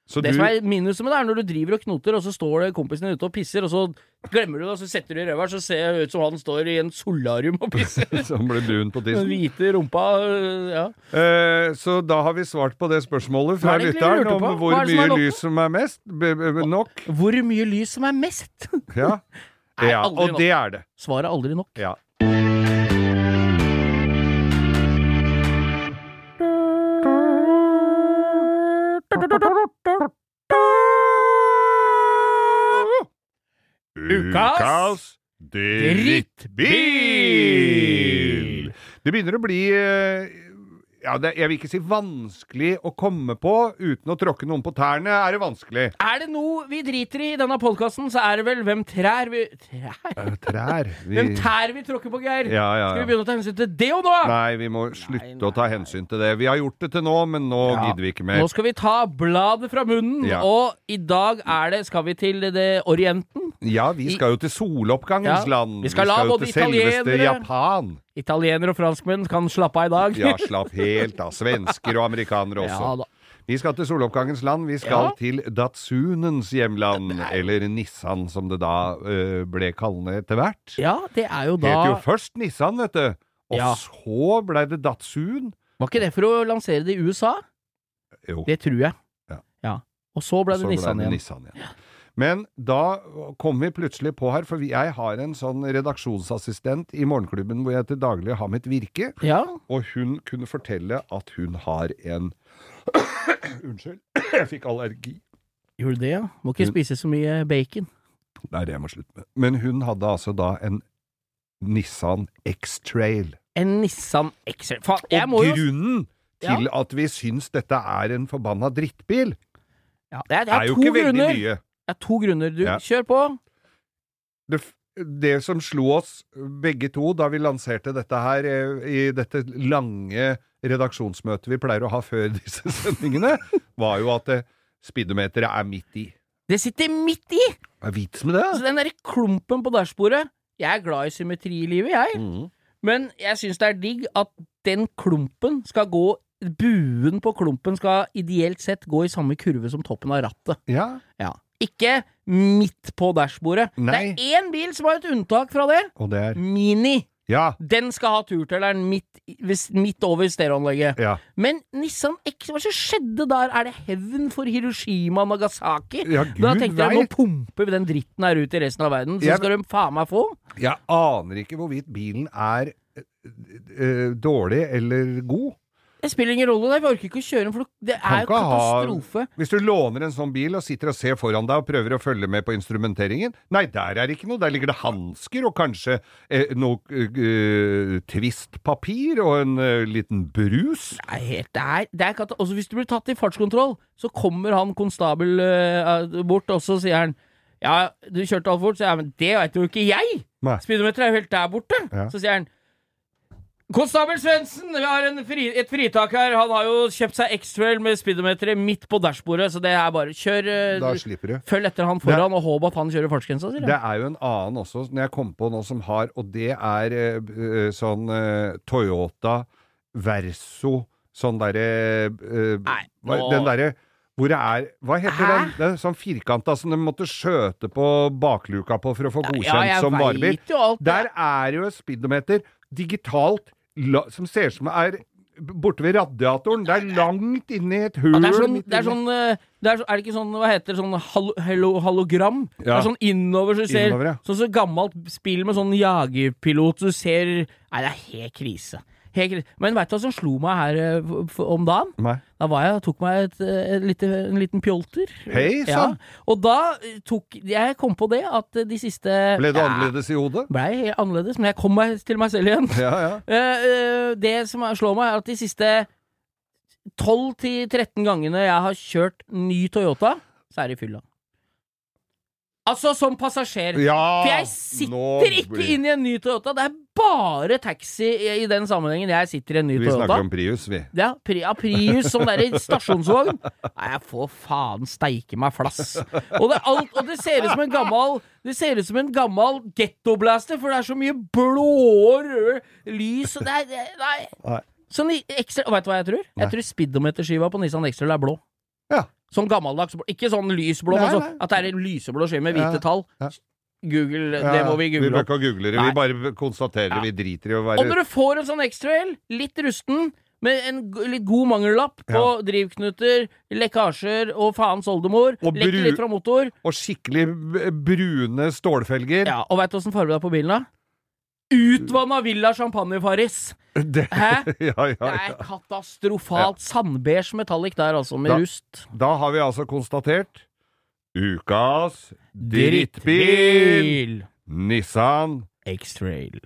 så
Det
du,
som er minuset med det, er når du driver og knoter, og så står det kompisen din ute og pisser, og så glemmer du det, og så setter du i ræva, så ser det ut som han står i en solarium
(laughs)
og pisser.
som ble brun på
Den
tissen.
hvite rumpa øh, Ja.
Eh, så da har vi svart på det spørsmålet
Hva
fra
er det egentlig vi
lytteren
lurte
om
på?
hvor
Hva er det som
mye
er nok?
lys som er mest. B b b nok.
Hvor mye lys som er mest?
Ja.
Nei,
ja.
aldri
Og
nok.
det er det.
Svaret er aldri nok.
Ja.
Ukas drittbil!
Det begynner å bli eh, ja, det, Jeg vil ikke si vanskelig å komme på uten å tråkke noen på tærne. Er det vanskelig?
Er det noe vi driter i i denne podkasten, så er det vel hvem trær vi trær?
Eh, Trær. Vi,
Hvem tær vi tråkker på, Geir?
Ja, ja,
Skal vi
ja.
begynne å ta hensyn til det og nå?
Nei, vi må slutte
Nei,
å ta
nei,
hensyn til det. Vi har gjort det til nå, men nå
Ja.
gidder vi ikke
Nå
mer.
skal vi ta bladet fra munnen,
Ja.
og i dag er det Skal vi til det Orienten?
Ja, vi skal jo til soloppgangens
Ja,
land.
vi skal la
jo
både
til selveste
italienere-
Japan.
Italienere og franskmenn kan slappe av i dag.
Ja, slapp helt av. Svensker og amerikanere også.
(laughs) Ja da.
Vi skal til soloppgangens land. Vi skal
Ja.
til Datsunens hjemland, eller Nissan som det da eh, ble kallende etter hvert.
Ja, det er jo da
Het jo først Nissan, vet du. Og
Ja.
så blei det Datsun.
Var ikke det for å lansere det i USA?
Jo,
Det tror jeg.
Ja.
Og så ble
så
det
ble
Nissan
det
igjen.
Nissan igjen. Men da kom vi plutselig på her, for vi- jeg har en sånn redaksjonsassistent i morgenklubben hvor jeg til daglig har mitt virke,
Ja,
og hun kunne fortelle at hun har en (coughs) Unnskyld, (coughs) jeg fikk allergi.
gjorde det, ja. Må ikke
Hun-
spise så mye bacon.
Det er det jeg må slutte med. Men hun hadde altså da en Nissan X-Trail.
En Nissan X-Ray. Faen, jeg
Og
må jo
grunnen til at vi syns dette er en forbanna drittbil,
ja, det, er, det
er
er
jo
to
ikke veldig
grunner.
mye.
Det er to grunner. Du,
Ja.
kjør på.
Det, f- det som slo oss eh, begge to da vi lanserte dette her eh, i dette lange redaksjonsmøtet vi pleier å ha før (laughs) disse sendingene, var jo at eh, speedometeret er midt i.
Det sitter midt i!
Hva er vits med det?
Så den derre klumpen på dashbordet Jeg er glad i symmetri i livet, jeg.
Mm.
Men jeg syns det er digg at den klumpen skal gå Buen på klumpen skal ideelt sett gå i samme kurve som toppen av rattet.
Ja.
Ja. Ikke midt på dashbordet.
Nei.
Det er én bil som har et unntak fra det.
Og det er
Mini.
Ja.
Den skal ha turtelleren midt, i- hvis- midt over stereoanlegget.
Ja.
Men Nissan X, hva som skjedde der? Er det hevn for Hiroshima og Nagasaki?
Ja,
da
Gud
tenkte jeg nå
vet.
pumper vi den dritten her ut i resten av verden, så
Jeg-
skal de faen meg få.
Jeg aner ikke hvorvidt bilen er eh, eh, dårlig eller god.
Det spiller ingen rolle, jeg orker ikke å kjøre den, for det er
Kan
jo
ikke ha-
katastrofe.
Hvis du låner en sånn bil og sitter og ser foran deg og prøver å følge med på instrumenteringen Nei, der er det ikke noe. Der ligger det hansker og kanskje eh, noe eh, tvistpapir og en eh, liten brus.
Det er helt, det er, det er kata- altså, hvis du blir tatt i fartskontroll, så kommer han konstabel eh, bort, og så sier han Ja, du kjørte altfor fort. Så jeg, men det veit jo ikke jeg!
Nei.
Speedometeret er jo helt der borte.
Ja.
Så sier han Konstabel Svendsen, vi har en fri, et fritak her. Han har jo kjøpt seg X-Trail med speedometeret midt på dashbordet, så det er bare kjør eh,
Da slipper du.
Følg etter han foran og håp at han kjører fartsgrensa, sier
Det
han.
er jo en annen også, når jeg kom på noe som har, og det er eh, eh, sånn eh, Toyota Verso, sånn derre eh,
Nei,
hva-
nå-
Den derre hvor det er Hva heter
Hæ?
den? den? Sånn firkanta som de måtte skjøte på bakluka på for å få godkjent som varebil.
vet jo alt.
Der er jo et speedometer digitalt la, som ser ut som det er borte ved radiatoren. Det er langt inni et hull.
Ja, det er sånn,
midt
det er,
inni-
sånn eh, det er, så- er det ikke sånn, hva heter det, sånn halo, hello, hologram? Det
Ja.
er sånn innover, så du ser
Innover, ja.
Sånn så gammelt spill med sånn jagerpilot, så du ser Nei, det er helt krise. Helt krise. Men veit du hva som slo meg her eh, f- f- om dagen?
Nei.
Da var jeg og tok meg et, eh, et lite, en liten pjolter.
Hei sånn. sann!
Og da eh, tok Jeg kom på det at eh, de siste
Ble det
Ja,
annerledes i hodet?
Ble helt annerledes, men jeg kom meg til meg selv igjen. (laughs)
Ja, ja.
Eh, eh, det som er- slår meg, er at de siste 12-13 gangene jeg har kjørt ny Toyota, så er det i fylla. Altså som passasjer.
Ja!
For jeg sitter ikke inn i en ny Toyota. Det er bare taxi i i den sammenhengen jeg sitter i en ny
Vi
Toyota.
snakker om Prius, vi.
Ja, Pri- ja, Prius som der i stasjonsvogn. Nei, jeg får faen steike meg flass. Og det, er alt, og det ser ut som en gammel Det ser ut som en gammel gettoblaster, for det er så mye blå og røde lys og det er, det, Nei.
Nei.
Sånn i ekstra, og vet du hva jeg tror?
Nei.
Jeg tror speedometerskiva på Nissan Extrail er blå.
Ja.
Sånn gammeldags blå. Ikke sånn lysblå,
Nei, nei.
men sånn at det er en lyseblå skive med
Ja,
hvite tall.
ja.
Google, det må vi
Vi bør
google opp.
ikke google det.
Nei.
Vi bare konstaterer
Ja.
det. Vi driter i å
Og
være
når du får en sånn ekstrael, litt rusten, med en g- litt god mangellapp på drivknuter, lekkasjer og faens oldemor,
Og
lekker
bru-
litt fra motor
Og skikkelig b- brune stålfelger.
ja, Og veit du åssen farge det er på bilen, da? Utvanna Villa Champagne-Farris!
(laughs) Det,
Hæ?
(laughs) ja, ja,
Det
ja.
er katastrofalt. Sandbeige metallic der, altså, med
Da-
rust.
Da har vi altså konstatert Ukas drittbil! Nissan.
X-Trail.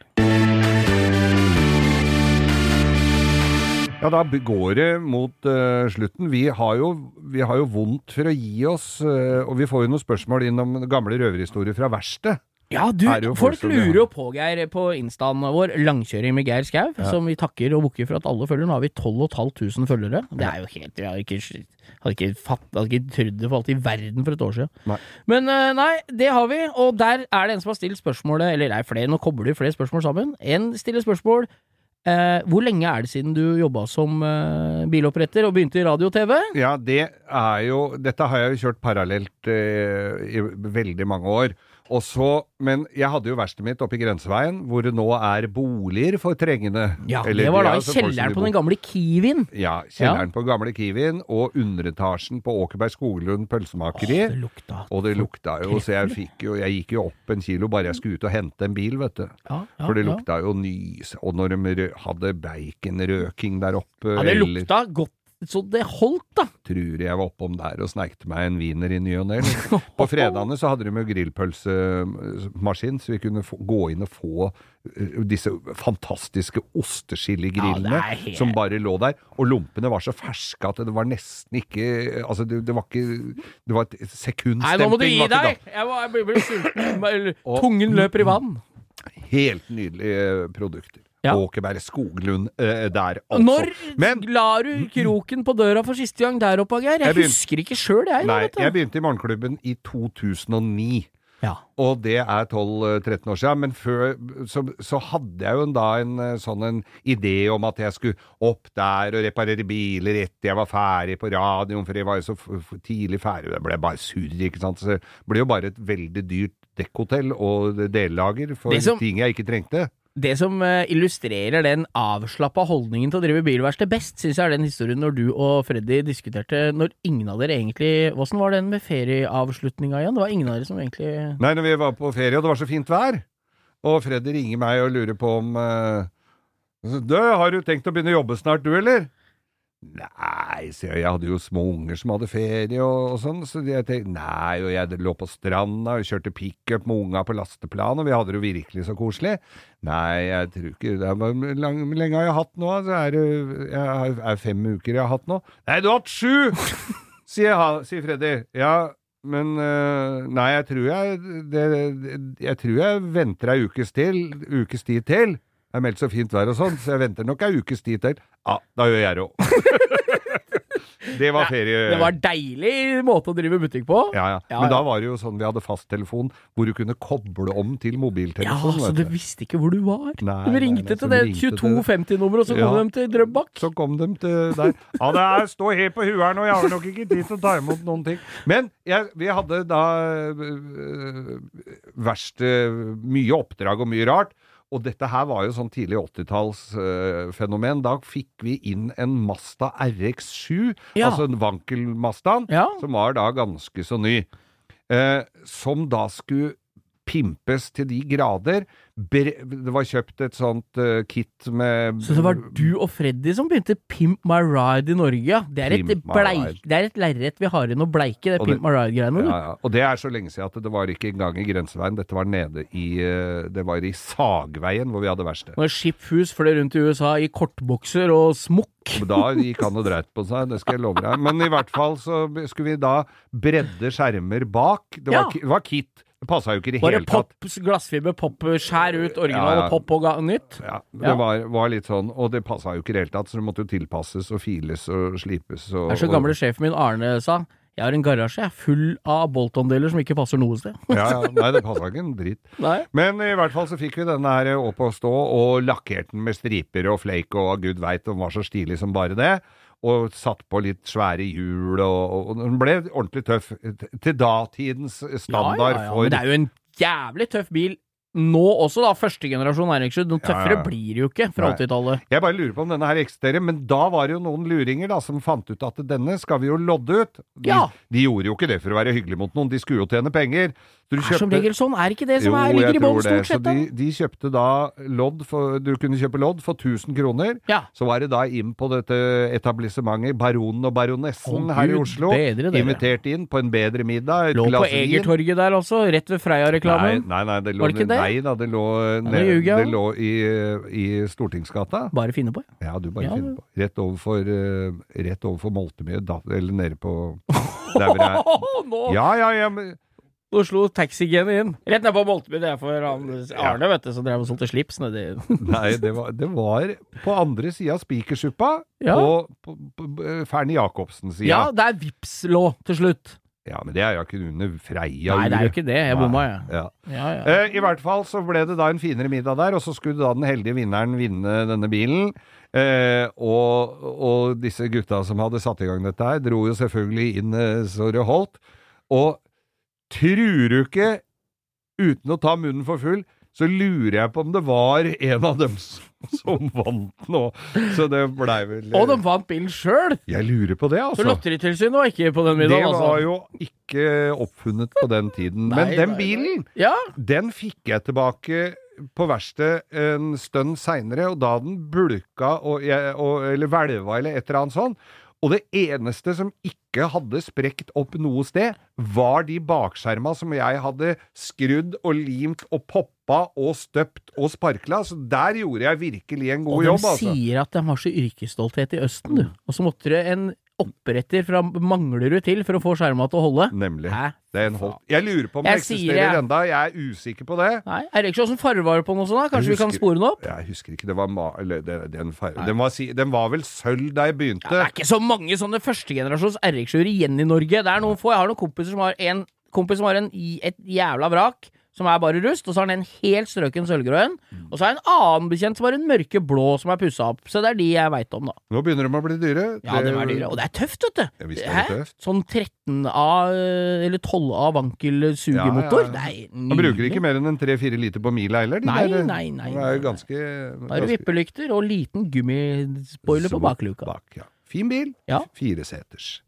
Ja, da b- går det mot eh, slutten. Vi har, jo, vi har jo vondt for å gi oss, eh, og vi får jo noen spørsmål inn om gamle røverhistorier fra verkstedet.
Ja, du,
Er det jo folk
folk
som-
lurer jo på, Geir, på instaen vår, Langkjøring med Geir Skau, som vi takker og bukker for at alle følger. Nå har vi 12 500 følgere. Det er jo helt Jeg hadde ikke, hadde ikke, fatt, hadde ikke trodd det for alt i verden for et år siden.
Nei.
Men eh, nei, det har vi, og der er det en som har stilt spørsmålet, eller nei, flere, nå kobler de flere spørsmål sammen. En stiller spørsmål eh, Hvor lenge er det siden du jobba som eh, biloppretter og begynte i radio og TV?
Ja, det er jo Dette har jeg jo kjørt parallelt eh, i veldig mange år. Og så, men jeg hadde jo verkstedet mitt oppe i Grenseveien, hvor det nå er boliger for trengende.
Ja,
Eller,
det var da i
altså, folk som
kjelleren
vil
på
bo-
den gamle Kiwien.
Ja, kjelleren på gamle Kiwien og underetasjen på Åkerberg Skoglund pølsemakeri.
Det lukta
og det lukta jo, så jeg fikk jo Jeg gikk jo opp en kilo bare jeg skulle ut og hente en bil, vet du.
ja, ja,
For det
ja.
lukta jo nys, og når de rø hadde baconrøking der oppe
Ja, det
eller-
lukta godt. Så det holdt, da.
tror jeg var oppom der og sneikte meg en wiener i ny og ne.
(laughs)
På fredagene så hadde de jo grillpølsemaskin, så vi kunne få, gå inn og få eh, disse fantastiske osteskillegrillene
Ja, det er helt-
som bare lå der. Og lompene var så ferske at det var nesten ikke Altså, det, det var ikke Det var et sekund
Nei, nå må du
stemping,
gi
var ikke
deg! Jeg, var, jeg blir, blir
(coughs)
sulten. Eller,
Og-
Tungen løper i vann.
da. Helt nydelige eh, produkter.
Ja.
Åkeberg Skoglund eh, der, altså.
Når
Men
la du kroken på døra for siste gang der oppe, Geir? Jeg
Mm. Jeg begyn-
husker ikke sjøl, jeg.
Nei,
vet du.
jeg begynte i Morgenklubben i 2009.
Ja.
Og det er 12-13 år siden, men før så, så hadde jeg jo en, da en eh, sånn en idé om at jeg skulle opp der og reparere biler etter jeg var ferdig på radioen, for jeg var jo så f f tidlig ferdig, det ble bare surr, ikke sant. Så det ble jo bare et veldig dyrt dekkhotell og dellager for
Det som-
ting jeg ikke trengte.
Det som eh, illustrerer den avslappa holdningen til å drive bilverksted best, syns jeg er den historien når du og Freddy diskuterte når ingen av dere egentlig Åssen var den med ferieavslutninga igjen? Det var ingen av dere som egentlig
Nei, når vi var på ferie, og det var så fint vær, og Freddy ringer meg og lurer på om eh, Du, har du tenkt å begynne å jobbe snart, du, eller? Nei, sier jeg, jeg hadde jo små unger som hadde ferie og, og sånn, så jeg tenkte nei, og jeg lå på stranda og kjørte pickup med unga på lasteplan, og vi hadde det jo virkelig så koselig. Nei, jeg tror ikke det er bare lang, hvor lenge har jeg hatt nå? Så er det jeg har- er fem uker jeg har hatt nå. Nei, du har hatt sju! (laughs) sier, han- sier Freddy. Ja, men øh, Nei, jeg tror jeg det, det- Jeg tror jeg venter ei ukes til. Ukes tid til. Det er meldt så fint vær og sånn, så jeg venter nok ei ukes tid til. Ja, da gjør jeg det òg. (laughs) det var ferie.
Det var en deilig måte å drive butikk på.
ja, ja.
Ja,
Men
ja.
da var det jo sånn vi hadde fasttelefon hvor du kunne koble om til
Ja,
mobiltelefonen.
så
sånn,
altså,
vet
du
du.
visste ikke hvor du var.
Nei,
de
nei,
ringte
nei, så
til
de
det
ringte til det.
2250-nummeret, og så kom
Ja.
de til Drøbak.
Så kom de til der. Ja, det er stå helt på huet her nå, jeg har nok ikke tid til å ta imot noen ting. Men jeg, vi hadde da øh, verst øh, mye oppdrag og mye rart. Og dette her var jo sånn tidlig 80-tallsfenomen. da fikk vi inn en Mazda RX7,
Ja.
altså en Vankel-Mazdaen,
Ja.
som var da ganske så ny. Eh, som da skulle pimpes til de grader. Bre det var kjøpt et sånt eh, kit med
Så det var du og Freddy som begynte Pimp my ride i Norge, ja. Det er et,
Pimp my
bleik,
ride.
det er et lerret vi har igjen å bleike, det
Og det-
Pimp my ride-greiene. du.
Ja, ja. Og det er så lenge siden at det var ikke engang i grenseveien. Dette var nede i eh, Det var i Sagveien hvor vi hadde verksted.
Når Skipfus fløy rundt i USA i kortbokser og smokk.
Da gikk han og dreit på seg, det skal jeg love deg. Men i hvert fall så skulle vi da bredde skjermer bak. Det var,
Ja.
ki- det var kit. Det passa jo ikke i det
Bare
hele tatt.
pop, glassfiber, pop, skjær ut original
Ja, ja.
og pop og ga, nytt.
Ja, det
Ja.
Var, var litt sånn, og det passa jo ikke i det hele tatt, så det måtte jo tilpasses og files og slipes og
Det er så gamle sjefen min, Arne, sa. Jeg har en garasje jeg er full av boltondeler som ikke passer noe (laughs) sted.
ja, ja, Nei, det passa ikke en dritt.
Nei.
Men i hvert fall så fikk vi denne her opp og stå, og lakkerte den med striper og flake, og gud veit den var så stilig som bare det. Og satt på litt svære hjul, og, og den ble ordentlig tøff. t- Til datidens standard for
Men det er jo en jævlig tøff bil nå også, da. Første generasjon RX7. Noe
Ja, ja,
tøffere
ja.
blir det jo ikke fra
Nei.
80-tallet.
Jeg bare lurer på om denne her eksisterer, men da var det jo noen luringer da som fant ut at denne skal vi jo lodde ut. De,
Ja.
de gjorde jo ikke det for å være hyggelig mot noen, de skulle jo tjene penger. Så du
Det er som regel sånn. Er ikke det som er,
Jo, jeg
ligger i bånn,
tror det.
stort sett?
Så
da?
de, de kjøpte da lodd for, Du kunne kjøpe lodd for 1000 kroner.
Ja.
Så var det da inn på dette etablissementet, Baronen og Baronessen
Å,
her i
Gud,
Oslo.
bedre dere.
Invitert inn på en bedre middag, et
Lå på
glass vin.
Egertorget der også, rett ved
Nei,
Freia-reklamen.
nei, nei, det lå,
Var det ikke det?
nei da, det lå,
nå
ned,
ljuger jeg.
det lå i, i Stortingsgata.
Bare finne på. ja.
Ja, du bare
Ja,
finner
det-
på. Rett overfor, uh, rett overfor Moltemyr, da- eller nede på der hvor det er.
(laughs) nå
Ja, ja, ja, men
Nå slo taxigenet inn. Rett ned på Bolteby. Det er for han, Arne, vet du, som drev og solgte slips nedi
Nei, det var, det var på andre sida av Spikersuppa,
Ja.
og på, på, på eh, Fernie Jacobsen-sida.
Ja,
Ja.
det er Vips lå til slutt.
men det er jo ikke under Freia.
Nei, det er jo ikke det. Jeg bomma, jeg.
Ja.
Ja, ja.
Eh, I hvert fall så ble det da en finere middag der, og så skulle da den heldige vinneren vinne denne bilen. Eh, og, og disse gutta som hadde satt i gang dette her, dro jo selvfølgelig inn eh, så det holdt. Og tror du ikke, uten å ta munnen for full, så lurer jeg på om det var en av dem som, som vant nå. Så det blei vel eh,
Og de vant bilen sjøl!
Jeg lurer på det,
Så
altså.
Lotteritilsynet var ikke på den
Det
middagen,
var
altså.
jo ikke oppfunnet på den tiden.
Nei,
Men den
nei, nei.
bilen
Ja,
den fikk jeg tilbake på verkstedet en stund seinere, og da den bulka og, jeg- og, eller hvelva eller et eller annet sånn. Og det eneste som ikke hadde sprukket opp noe sted, var de bakskjerma som jeg hadde skrudd og limt og poppa og støpt og sparkla. Så der gjorde jeg virkelig en god
og de
jobb, altså.
sier at de har så yrkesstolthet i Østen, du. Og så måtte det en oppretter fra Manglerud til for å få skjerma til å holde.
Nemlig.
Hæ?
Det er en holdt. Jeg lurer på om
Jeg
det
sier
eksisterer
jeg.
enda. Jeg er usikker på det.
Nei, Eirik, åssen farge var det på noe sånt? da? Kanskje
Jeg
vi kan
husker-
spore den opp?
Jeg husker ikke. Det var ma... Eller, det- den, fargen- den, var, si- den var vel sølv da jeg begynte.
Det er ikke så mange sånne førstegenerasjons RX-er igjen i Norge. Det er noen få. Jeg har noen kompiser som har en kompis som har en, i- et jævla vrak, som er bare rust, og så har han en helt strøken sølvgrå en.
Mm.
Og så har jeg en annen bekjent som har en mørke blå som er pussa opp. Så det er de jeg veit om, da.
Nå begynner de å bli dyre.
Ja, de er dyre. Og det er tøft, vet du.
Jeg visste det
Hæ?
var tøft.
Sånn 13A
Eh,
eller 12A vankel-sugemotor.
Ja, ja, ja.
Det er
De bruker
nydelig.
ikke mer enn en 3-4 liter på mila heller. De
Nei,
der, eh,
nei, nei,
De er jo
nei.
ganske,
Da er
ganske
det vippelykter og liten gummispoiler på
små
bakluka.
Bak, ja. Fin bil.
Ja.
Fireseters.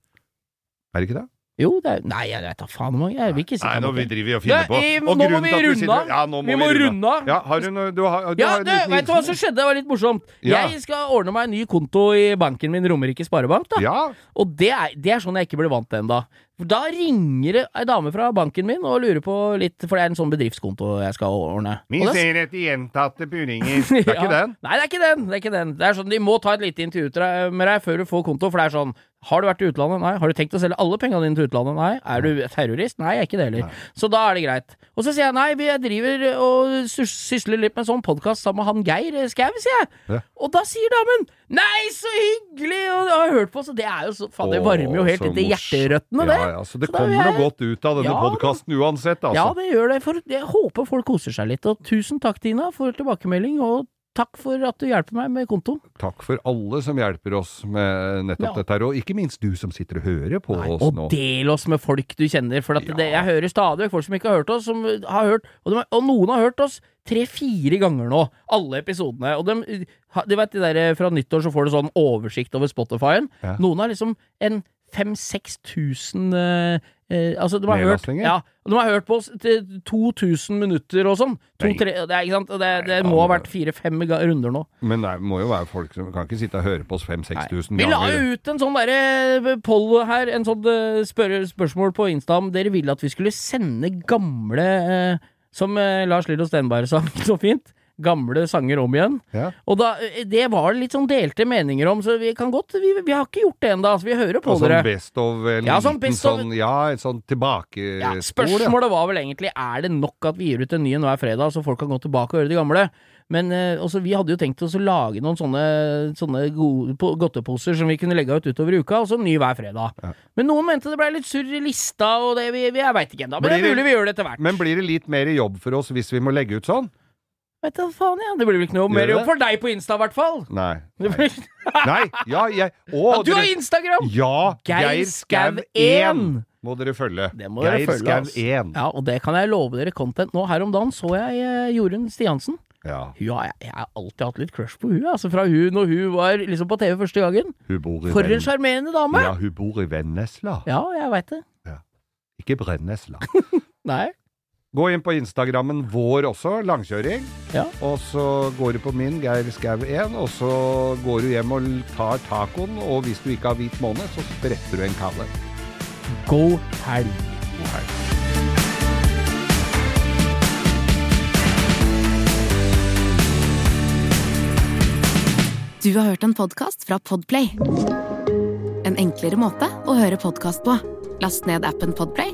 Er det ikke det?
Jo, det er Nei, jeg vet da faen hvor mange. Jeg vil ikke si
Nei,
hvor
nå
mange.
vi driver vi og
Det
finner
er-
på.
i-
Og
nå må
grunnen
vi
til at
runde av.
sitter- Ja, nå må
Vi må runde av.
Ja, har du noe Du har, du
Ja,
har
du, vet du hva som skjedde? Det var litt morsomt.
Ja.
Jeg skal ordne meg en ny konto i banken min, Romerike Sparebank. da
Ja,
Og det er, det er sånn jeg ikke ble vant til ennå. Da ringer det ei dame fra banken min og lurer på litt, for det er en sånn bedriftskonto jeg skal ordne.
vi
Og da-
ser etter gjentatte (laughs) purringer. Det er ikke
Ja.
den?
Nei, det er ikke den. Det er ikke den. Det er sånn, De må ta et lite intervju til deg- med deg før du får konto, for det er sånn Har du vært i utlandet? Nei. Har du tenkt å selge alle pengene dine til utlandet? Nei. Er du terrorist? Nei, jeg er ikke det heller. Så da er det greit. Og så sier jeg nei, vi- jeg driver og sys- sysler litt med en sånn podkast sammen med han Geir Skau, sier jeg.
Ja.
Og da sier damen nei, så hyggelig, og jeg har hørt på, så det er jo så Faen, det
Å,
varmer jo helt
så
litt i
morsomt.
hjerterøttene, det.
Ja, ja, så det
Så da vil
kommer
jeg-
noe godt ut av denne
Ja, da.
podkasten uansett, altså.
Ja, det gjør det. For jeg håper folk koser seg litt. Og tusen takk, Tina, for tilbakemelding, og takk for at du hjelper meg med kontoen.
Takk for alle som hjelper oss med eh, nettopp
Ja.
dette her, og ikke minst du som sitter og hører på
Nei,
oss
og
nå.
del oss med folk du kjenner. For at
Ja.
det, jeg hører stadig vekk folk som ikke har hørt oss, som har hørt Og, de, og noen har hørt oss tre-fire ganger nå, alle episodene. Og de, de vet de der eh, fra nyttår så får du sånn oversikt over Spotify-en.
Ja.
Noen har liksom en 5000-6000 eh, eh, altså, de har hørt,
Nedlastninger?
ja, og de har hørt på oss til 2000 minutter og sånn. To,
Nei.
tre, det, er, ikke sant? Og det, det
Nei, altså.
må ha
da-
vært fire-fem ga- runder nå.
Men det må jo være folk som kan ikke sitte og høre på oss
Nei.
5000-6000
Vi la
ganger.
jo ut en sånn derre poll her, en sånn eh, spør spørsmål på Insta om dere ville at vi skulle sende gamle eh, Som eh, Lars Lillo Stenberg sa (laughs) så fint. Gamle sanger om igjen.
Ja.
Og da, eh, det var det litt sånn delte meninger om, så vi kan godt Vi, vi har ikke gjort det ennå, så vi hører på
Og sånn
dere.
best of, eh, liten
Ja, sånn
sånn,
best of-
ja, et sånn tilbakespor.
Ja,
ja.
spørsmålet var vel egentlig Er det nok at vi gir ut en ny en hver fredag, så folk kan gå tilbake og høre de gamle. Men eh, også, vi hadde jo tenkt oss å lage noen sånne, sånne gode, po- godteposer som vi kunne legge ut utover i uka, og så en ny hver fredag. Men noen mente det ble litt surr i lista, og det, vi, vi, jeg veit ikke ennå. Men det er
Blir det-
mulig vi gjør det etter hvert.
Men blir det litt mer jobb for oss hvis vi må legge ut sånn?
Vet du hva faen, ja. Det blir vel ikke noe
Gjør
mer
det?
jobb for deg på Insta, i hvert fall. (laughs)
Nei.
Det
Nei,
blir ikke-
Nei ja, jeg Å,
Ja, du har
dere-
Instagram!
Ja,
Geir
Geir
Skau
Skau 1
1.
må dere følge.
Det må dere
Geir
følge,
Skau
ass.
1.
Ja, og det kan jeg love dere content. Nå her om dagen så jeg eh, Jorunn Stiansen.
Ja.
Hun har, jeg har alltid hatt litt crush på hun, altså fra hun når hun var liksom på TV første gangen.
Hun bor i
For en
Venn-
sjarmerende dame!
Ja,
Ja,
hun bor i Vennesla.
jeg veit det.
Ikke Brennesla.
(laughs) Nei.
Gå inn på Instagrammen vår også, langkjøring.
Ja.
Og så går du på min, Geir Skau 1, og så går du hjem og tar tacoen, og hvis du ikke har hvit måne, så spretter du en kalle.
God helg.
God helg.
Du har hørt en podcast fra Podplay En enklere måte å høre podcast på Last ned appen Podplay